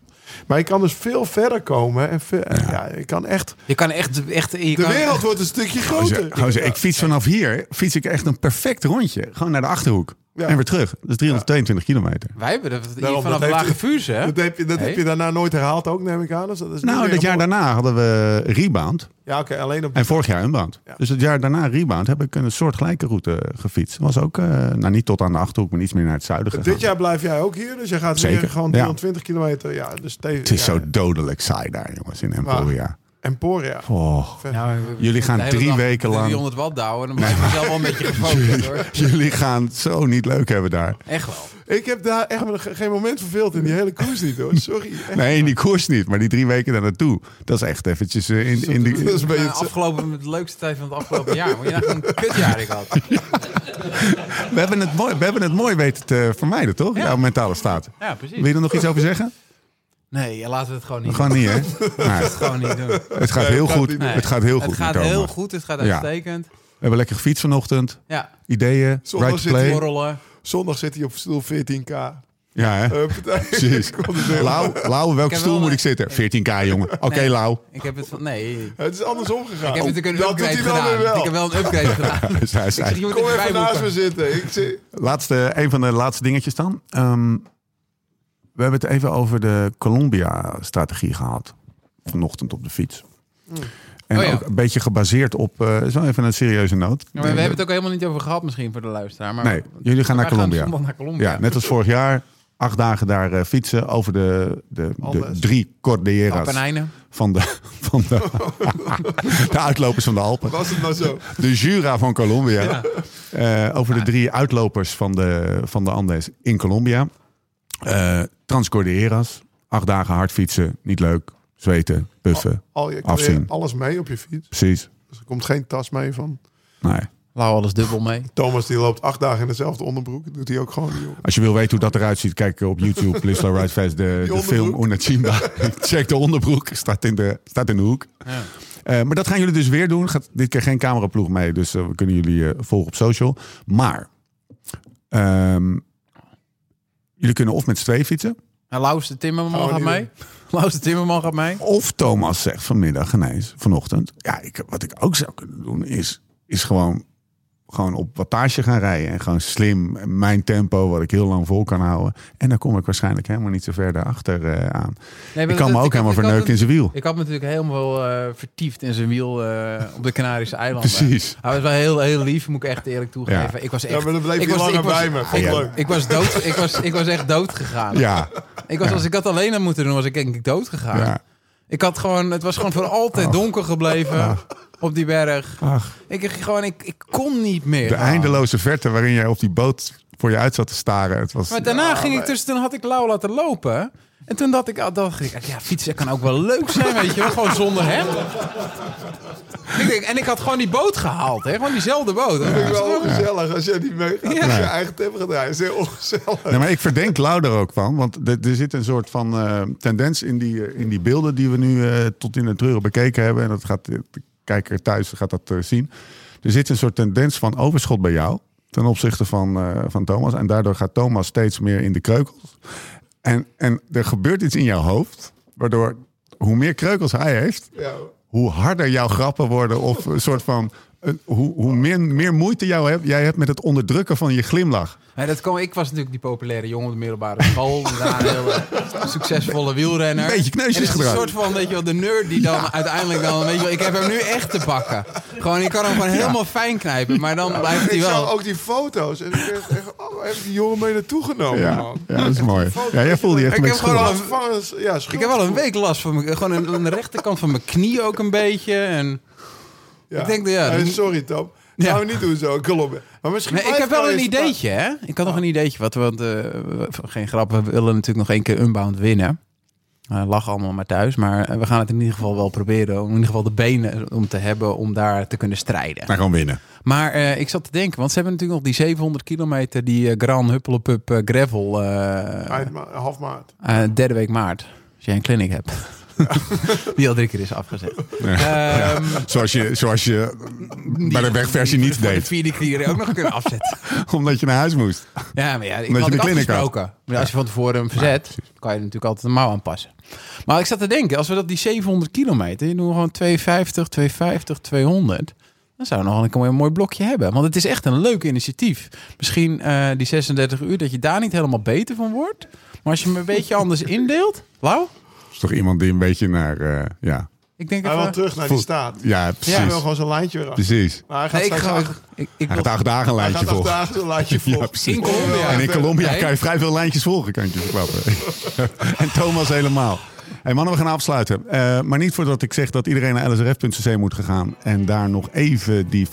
Maar je kan dus veel verder komen. En veel, en ja. je kan echt...
Je kan echt... echt je
De
kan,
wereld wordt een stukje groter.
Gozer, gozer, ik fiets vanaf hier, fiets ik echt een perfect rondje. Gewoon naar de Achterhoek.
Ja.
En weer terug. Dat is 322 kilometer.
Wij hebben dat hier
Daarom,
vanaf
dat heeft-
lage vuurs, hè?
Dat, heb je, dat
Hey.
heb je daarna nooit herhaald ook, neem ik aan. Dus dat is niet
Nou,
weer
dat jaar
een-
daarna hadden we Rebound.
Ja, oké, alleen op...
En vorig jaar Unbound.
Ja.
Dus het jaar daarna Rebound heb ik een soortgelijke route gefietst. Was ook, eh, nou niet tot aan de Achterhoek, maar iets meer naar het zuiden gegaan.
Dit jaar blijf jij ook hier, dus je gaat weer
Zeker,
gewoon
ja.
320 kilometer. Ja, dus tegen,
Het is
ja,
zo dodelijk saai daar, jongens, in Emporia.
Emporia.
Oh.
Nou,
Jullie gaan
de hele
drie
dag
weken lang-
300 watt douwen. Dan blijf je zelf wel een beetje gefocust, hoor.
Jullie gaan het zo niet leuk hebben daar.
Echt wel.
Ik heb daar echt me ge- geen moment verveeld in die hele koers niet, hoor. Sorry. Echt.
Nee, in die koers niet, maar die drie weken daar naartoe. Dat is echt eventjes eh, in, in
Dat
die...
is een beetje
Ja,
het-
afgelopen, het leukste tijd van het afgelopen jaar. Maar je dacht, een kutjaar ik had.
We hebben het mooi, we hebben het mooi weten te vermijden, toch?
Ja.
Jouw mentale staat.
Ja, precies.
Wil je er nog iets over zeggen?
Nee, ja, laten we het gewoon niet
Gewoon niet, hè? Nee,
doen. Gewoon niet doen.
het gaat heel goed.
Nee.
Het gaat heel goed.
Het gaat
met Thomas.
heel goed. Het gaat
Ja.
uitstekend.
We hebben lekker gefietst vanochtend.
Ja.
Ideeën,
Zondag
right to
zit hij
play.
Borrelen.
Zondag zit hij op stoel 14k.
Ja, hè? Precies. Lau, Lau,
Ik
welke
heb
stoel
wel
moet
een-
ik zitten? 14k, jongen. Oké,
Nee,
Lau.
Ik heb het van... Nee.
Het is andersom gegaan.
Ik heb natuurlijk een
Oh, dat doet hij
upgrade
dan weer
gedaan.
wel.
Ik heb wel een upgrade gedaan.
Dus hij zei-
je moet
Kom
even
even naast
bijboeken.
me zitten. Ik zie...
Laatste, een van de laatste dingetjes dan. Ehm, we hebben het even over de Colombia-strategie gehad. Vanochtend op de fiets. En
Oh ja.
ook een beetje gebaseerd op... eh, zo even een serieuze noot.
Ja, maar we hebben het ook helemaal niet over gehad misschien voor de luisteraar. Maar
Nee, jullie gaan
wij
naar Colombia.
zondag naar Colombia.
Ja, net als vorig jaar. Acht dagen daar eh, fietsen over de, de, de
Alles.
drie Cordilleras
Alpenijnen.
van de, van de, de uitlopers van de Alpen.
Was het nou zo?
De Jura van Colombia. Eh, over de drie uitlopers van de, van de Andes in Colombia. Eh Transcordilleras. Acht dagen hard fietsen. Niet leuk. Zweten. Puffen.
Al je
Afzien.
creëert alles mee op je fiets.
Precies.
Dus er komt geen tas mee van.
Nee.
Lauw alles dubbel mee.
Thomas die loopt acht dagen in dezelfde onderbroek. Dat doet hij ook gewoon. Joh.
Als je wil weten hoe dat eruit ziet, kijk op YouTube. Please Slow Ride Fast. De, de
onderbroek.
film Una Chimba. Check de onderbroek. Staat in de, staat in de hoek.
Ja.
Eh, maar dat gaan jullie dus weer doen. Gaat dit keer geen cameraploeg mee, dus eh, we kunnen jullie eh, volgen op social. Maar ehm, jullie kunnen of met z'n tweeën fietsen,
En Laus Nou, de Timmerman
Gaan we
gaat
niet
mee. Laus de Timmerman gaat mee.
of Thomas zegt vanmiddag, ineens, vanochtend. Ja, ik, wat ik ook zou kunnen doen is, is gewoon, gewoon op wattage gaan rijden. En gewoon slim, mijn tempo, wat ik heel lang vol kan houden. En dan kom ik waarschijnlijk helemaal niet zo ver daarachter eh, aan.
Nee, maar
ik kan me
dat-
ook helemaal
had- ik had
verneuken in zijn wiel.
het- Ik had me natuurlijk helemaal eh, vertiefd in zijn wiel eh, op de Canarische eilanden.
Precies.
Hij was wel heel, heel lief, moet ik echt eerlijk toegeven.
Ja.
Ik was echt...
Ja, maar dan bleef
ik
hij
was,
langer
ik was-
bij me. Vond ik
Ja.
leuk.
Ik was, dood, ik, was, ik was echt dood gegaan.
Ja,
Ik was, als ik dat alleen had moeten doen, was ik denk ik dood gegaan.
ja.
Ik had gewoon, het was gewoon voor altijd donker gebleven op die berg.
Ach.
Ik, gewoon, ik, ik kon niet meer.
De eindeloze verte waarin jij op die boot voor je uit zat te staren. Het was,
Maar daarna ging ik dus, toen had ik Lau laten lopen. En toen dacht ik, ah, dacht ik, ja, fietsen kan ook wel leuk zijn, weet je wel. Gewoon zonder hem. Ik denk, en ik had gewoon die boot gehaald, hè. Gewoon diezelfde boot.
Dat vind ik wel ongezellig als jij niet meegaat.
Ja.
Als je
Nee.
eigen tempo gaat rijden. Dat is heel ongezellig.
Nee, maar ik verdenk Lau er ook van. Want er, er zit een soort van eh, tendens in die, eh, in die beelden die we nu eh, tot in de treuren bekeken hebben. En dat gaat eh, de kijker thuis gaat dat eh, zien. Er zit een soort tendens van overschot bij jou ten opzichte van, eh, van Thomas. En daardoor gaat Thomas steeds meer in de kreukels. En, en er gebeurt iets in jouw hoofd, waardoor hoe meer kreukels hij heeft,
Ja.
hoe harder jouw grappen worden. Of een soort van, een- hoe, hoe meer, meer moeite jou hebt, jij hebt met het onderdrukken van je glimlach.
Nee, dat kwam, ik was natuurlijk die populaire jongen op de middelbare school. Daarna een hele succesvolle wielrenner.
Een beetje kneusjes
En het is
gedraaid.
Een soort van, weet je wel, de nerd die dan uiteindelijk dan... Weet je wel, ik heb hem nu echt te pakken. Gewoon, ik kan hem gewoon helemaal fijn knijpen. Maar dan blijft hij
Ik
wel...
zag ook die foto's. En ik dacht echt, oh, heb ik die jongen mee naartoe genomen,
Ja,
man.
ja dat is mooi. Ja, jij voelde je echt
Ik
een beetje
heb gewoon
schuldig.
al-
Vervangens, ja, schuld.
Ik heb wel een week last van mijn, gewoon aan- aan de rechterkant van mijn knie ook een beetje. En,
Ja.
ik denk, ja,
Eh,
dan-
sorry, Tom.
Ja.
Gaan we niet doen zo, Colombia. Maar misschien
nee, ik
blijft
heb wel
er
een
eens-
ideetje, hè? Ik had nog een ideetje. Wat, we- want, eh, we- geen grap, we willen natuurlijk nog één keer Unbound winnen. Eh lach allemaal maar thuis. Maar eh, we gaan het in ieder geval wel proberen. Om in ieder geval de benen om te hebben om daar te kunnen strijden.
Maar gewoon winnen.
Maar eh, ik zat te denken, want ze hebben natuurlijk nog die 700 kilometer... die eh, Gran Huppelepup eh, Gravel eh,
Eind ma- half maart.
Eh, derde week maart, als jij een clinic hebt. Die al drie keer is afgezet. Ehm,
Zoals je, zoals je bij de wegversie niet
Voor de
deed.
vierde keer ook nog kunnen afzetten.
Omdat je naar huis moest.
Ja, maar ja, ik
Omdat
had
je
het
de kliniek had.
afgesproken. Maar als je van tevoren hem verzet, kan je er natuurlijk altijd een mouw aanpassen. Maar ik zat te denken, als we dat die 700 kilometer, die doen we gewoon 250, 250, 200. Dan zouden we nog wel een mooi blokje hebben. Want het is echt een leuk initiatief. Misschien eh, die 36 uur, dat je daar niet helemaal beter van wordt. Maar als je hem een beetje anders indeelt. Lau?
Dat is toch iemand die een beetje naar... eh, ja.
Ik denk
Hij wil
even...
terug naar die staat.
ja,
Hij wil
precies.
gewoon zijn lijntje weer af.
precies.
Maar hij gaat
Nee, ik
straks
ga...
acht-
Ik, ik
Hij
wil-
gaat acht dagen een
hij
lijntje
gaat acht
volgen.
dagen zijn lijntje vol.
Ja, precies.
In Colombia.
En in Colombia
Nee.
kan je vrij veel lijntjes volgen, kan ik je verklappen. en Thomas helemaal. Hey mannen, we gaan afsluiten. Eh, maar niet voordat ik zeg dat iedereen naar lsrf.cc moet gaan. En daar nog even die 25%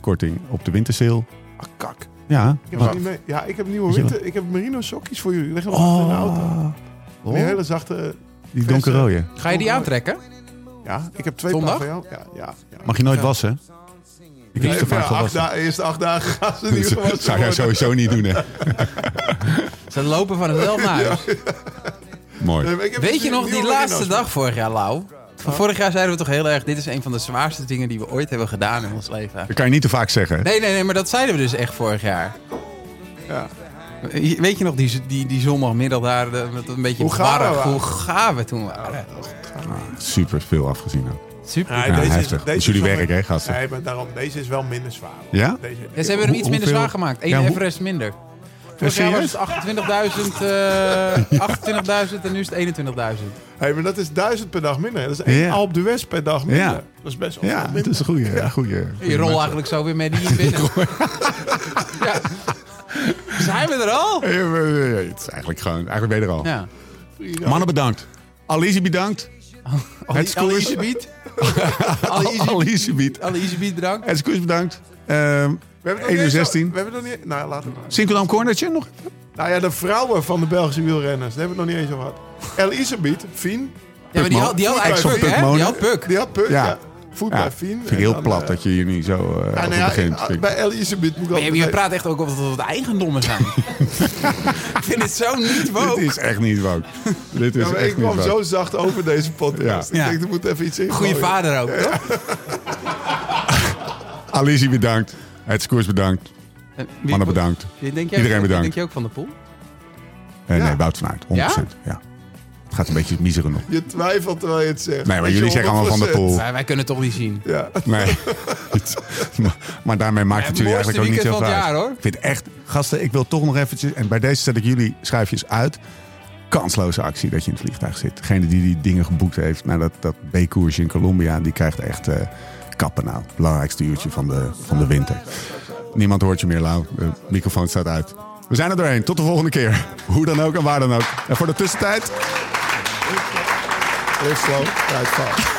korting op de wintersale.
Ah, kak.
Ja.
Ik heb ze niet mee. Ja, ik heb nieuwe
Weet je
winter. Ik heb merino sokjes voor jullie. Leg hem achter in de auto.
Oh,
Die hele zachte.
die donkerrode.
Ga je die aantrekken?
Ja, ik heb twee
Zondag?
paar van jou. Ja, ja. ja.
Mag je nooit wassen? Ik heb
Ja,
ze te vaak
acht
gewassen.
da- eerste acht dagen gaan ze niet
Dat zou jij
gewassen worden.
sowieso niet doen, hè?
Ze lopen van hetzelfde naar huis.
Mooi.
Nee, maar ik heb
Weet
dus
je nog die
nieuwe
laatste
merino's.
dag vorig jaar, Lau? Van vorig jaar zeiden we toch heel erg... dit is een van de zwaarste dingen die we ooit hebben gedaan in ons leven.
Dat kan je niet te vaak zeggen.
Nee, nee, nee, maar dat zeiden we dus echt vorig jaar.
Ja.
We Weet je nog die, die, die zondagmiddag daar, eh, met een beetje
Hoe gaar we
warrig,
waren.
hoe gaar we toen waren.
Super veel afgezien. ook.
Super.
Ja, heftig. Dat is jullie
wel-
werk, hè, gasten?
Nee, maar daarom, deze is wel minder zwaar. hoor.
Ja?
Deze,
Ja, ze hebben hem
Hoe-
iets minder
hoeveel-
zwaar gemaakt. Eén
Ja, hoe-
Everest minder.
Ja,
Vorig jaar was
serieus?
het 28.000 eh, 28.000 en nu is het 21.000.
Hey, maar dat is duizend per dag minder. hè. Dat is één
Ja.
Alp de West per dag minder.
Ja.
Dat is best wel
Ja,
veel
het
minder.
is een goede. Ja. goede
Je rol eigenlijk zo weer met die binnen. ja. Zijn we er al?
Ja, ja, ja, ja, Het is eigenlijk gewoon. Eigenlijk ben je er al.
Ja.
Mannen bedankt. Alice bedankt.
Oh,
Het
Alle
scoort.
Izebiet. Alle Izebiet.
Alice bedankt.
Alle Izebiet bedankt.
Het scoort bedankt. Ehm
We hebben
1 uur 16.
We hebben het nog niet... Nou, laten we maar.
Sinkeldam Cornertje nog?
Nou ja, de vrouwen van de Belgische wielrenners. Daar hebben we het nog niet eens over gehad. El Isabiet, Fien.
Ja, maar die had, die had
Extra
eigenlijk Puk, hè?
Pukmolen.
Die had Puk.
Die had Puk.
Ja.
Ja. Voet
Ja,
bij Fien.
vind ik
En
heel
dan,
plat
eh,
dat je hier niet zo eh
ja,
over
nou ja,
begint.
ik-
vind ik.
bij El Isabiet moet ik
Maar je, je
altijd-
praat echt ook alsof het eigendommen zijn. ik vind het zo niet
Dit
woke.
is echt niet woke. Dit is
Ja, maar
echt
ik kwam
niet
zo
woke.
zacht over deze podcast.
Ja.
Ik denk, er moet even iets in.
Goeie
gooien.
vader ook, toch?
Alice bedankt. Het scoors bedankt.
En wie-
Mannen bedankt.
Wie Denk jij,
Iedereen bedankt.
Denk je ook van de pool?
Eh,
Ja.
Nee, Wout van Aert, 100%. Ja? Het gaat een beetje miseren nog.
Je twijfelt terwijl je het zegt.
Nee, maar
Weet je,
jullie zeggen allemaal van de
100%.
pool.
Wij, wij kunnen het toch niet zien.
Ja.
Nee. maar daarmee maakt het
Ja,
jullie
het
eigenlijk
mooiste
ook niet
weekend
heel
van het
uit.
jaar, hoor.
Ik vind echt, gasten, ik wil toch nog eventjes... En bij deze zet ik jullie schuifjes uit. Kansloze actie dat je in het vliegtuig zit. Degene die die dingen geboekt heeft naar dat, dat B-koersje in Colombia... die krijgt echt eh, kappen nou. Belangrijkste uurtje van de, van de winter. Niemand hoort je meer, Lau. De microfoon staat uit. We zijn er doorheen. Tot de volgende keer. Hoe dan ook en waar dan ook. En voor de tussentijd...
Leef slow, rijd fast.